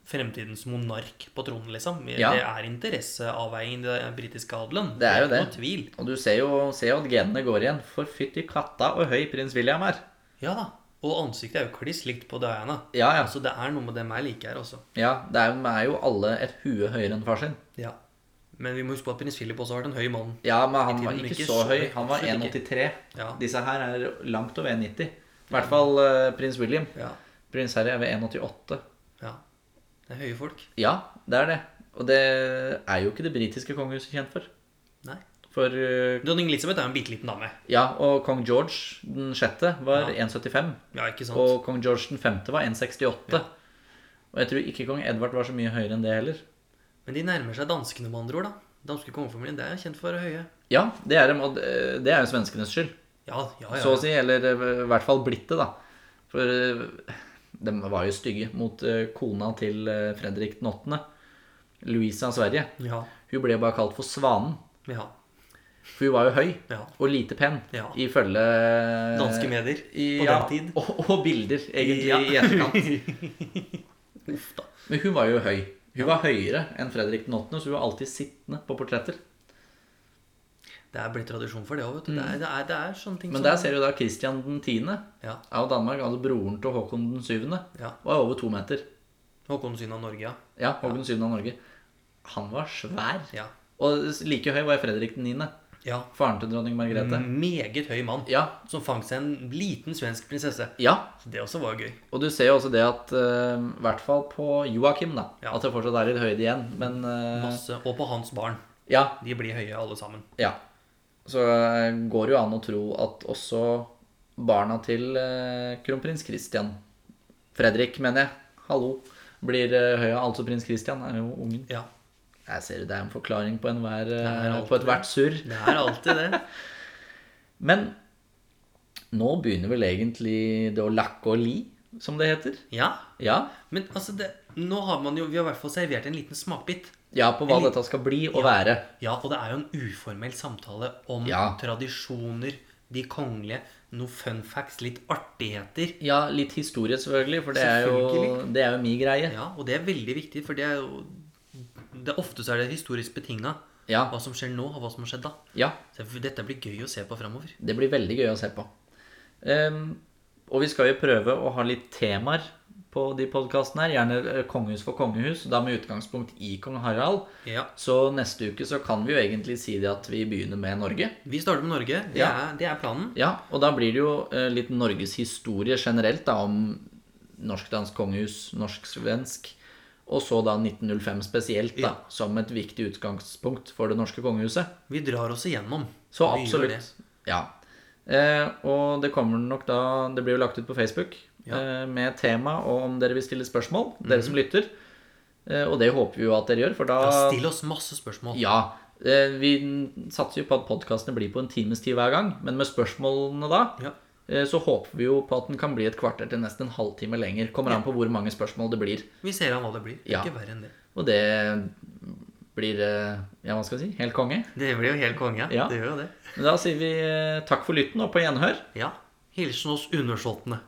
fremtidens monark på tronen, liksom.
Ja.
Det er interesseavveiing i den britiske adelen.
Det er jo
ikke
det.
Noe tvil.
og du ser jo, ser jo at genene går igjen. For fytti katta og høy prins William er.
Ja da. Og ansiktet er jo kliss likt på Diana.
Ja, ja.
Altså, det er noe med dem jeg liker her også.
ja det er, er jo alle et hue høyere enn far sin.
Ja. Men vi må huske på at prins Philip også har vært en høy mann.
Ja, men han
tiden,
var
men
ikke
ikke
så
så-
høy. Han var
absolutt
1,83.
Ja.
Disse her er langt over 1,90. I hvert fall eh, prins William.
Ja.
Prins Harry er ved 1,88.
ja. Det er høye folk.
Ja, det er det. Og det er jo ikke det britiske kongehuset kjent for.
Nei.
For eh,
Dronning Elisabeth er jo en bitte liten dame.
Ja, og kong George den sjette var 1,75.
Ja, ikke sant?
Og kong George den femte var 1,68. Og jeg tror ikke kong Edvard var så mye høyere enn det heller.
Men de nærmer seg danskene, med andre ord. da Danske kongefamilien det er kjent for å være høye.
Ja, det er, dem, og det er jo svenskenes skyld,
Ja, ja, ja.
så å si. Eller eh, i hvert fall blitt det, da. For eh, de var jo stygge mot eh, kona til eh, Fredrik den åttende. Louisa av Sverige.
ja.
Hun ble bare kalt for Svanen.
ja.
For hun var jo høy
Ja.
og lite pen,
Ja.
ifølge eh,
Danske medier
i-
på
ja,
den tid.
Og, og bilder, egentlig,
Ja.
i etterkant. Men hun var jo høy. Hun var høyere enn Fredrik den åttende, så hun var alltid sittende på portretter.
Det er blitt tradisjon for det òg, vet du. Det, er, det, er, det er sånne ting
Mm. Men
som
der ser du da Kristian den tiende
Ja.
av Danmark, altså broren til Håkon den syvende,
Ja.
var over to meter.
Håkon Syn av Norge, ja.
Ja, Håkon den syvende av Norge. Han var svær.
Ja.
Og like høy var Fredrik den niende.
ja.
Faren til dronning Margrethe.
Meget høy mann
Ja.
som fang seg en liten svensk prinsesse.
ja.
Så det også var jo gøy.
Og du ser jo også det at eh, I hvert fall på Joakim, da.
Ja.
At det fortsatt er litt høyde igjen. Men eh,
Masse. Og på hans barn.
ja,
De blir høye alle sammen.
Ja. Så eh, går det jo an å tro at også barna til eh, kronprins Christian Fredrik, mener jeg. Hallo. Blir eh, høya. Altså prins Christian er jo ungen.
Ja.
Jeg ser det, det er en forklaring på, enhver, eh,
Det er alltid
på ethvert surr.
Det er alltid det.
Men nå begynner vel egentlig det å lakke og li, som det heter.
Ja.
Ja,
Men altså, det, nå har man jo Vi har i hvert fall servert en liten smakbit.
ja på hva dette skal bli og være.
Ja, og det er jo en uformell samtale om
Ja.
tradisjoner, de kongelige, noen fun facts, litt artigheter.
Ja, litt historie selvfølgelig, for det er jo,
Selvfølgelig.
det er jo min greie.
Ja, og det er veldig viktig, for det er jo det, Ofte så er det historisk betinga.
Ja.
Hva som skjer nå, og hva som har skjedd da.
Ja,
Så dette blir gøy å se på framover.
Det blir veldig gøy å se på. Ehm, og vi skal jo prøve å ha litt temaer på de podkastene her. Gjerne eh, kongehus for kongehus, da med utgangspunkt i kong Harald.
Ja.
Så neste uke så kan vi jo egentlig si det at vi begynner med Norge.
Vi starter med Norge. Det,
Ja.
er, det er planen.
Ja, Og da blir det jo eh, litt Norges historie generelt, da, om norsk-dansk kongehus, norsk-svensk. Og så da 1905 spesielt, da,
Ja.
som et viktig utgangspunkt for det norske kongehuset.
Vi drar oss igjennom.
Så
Vi gjør
absolutt.
det.
Ja. Eh, og det kommer nok da Det blir jo lagt ut på Facebook eh, med tema og om dere vil stille spørsmål,
Mhm.
dere som lytter. Eh, og det håper vi jo at dere gjør, for da
Ja, still oss masse spørsmål.
Ja. Eh, vi satser jo på at podkastene blir på en times tid hver gang, men med spørsmålene da
Ja.
eh, så håper vi jo på at den kan bli et kvarter til nesten en halvtime lenger. Kommer an på hvor mange spørsmål det blir.
Vi ser an hva det blir.
Ja.
Ikke verre enn det.
Og det blir eh, Ja, hva skal vi si? Helt konge.
Det blir jo helt konge.
Ja.
Det gjør jo det.
Men da sier vi eh, takk for lytten og på gjenhør.
Ja. Hilsen oss undersåttene.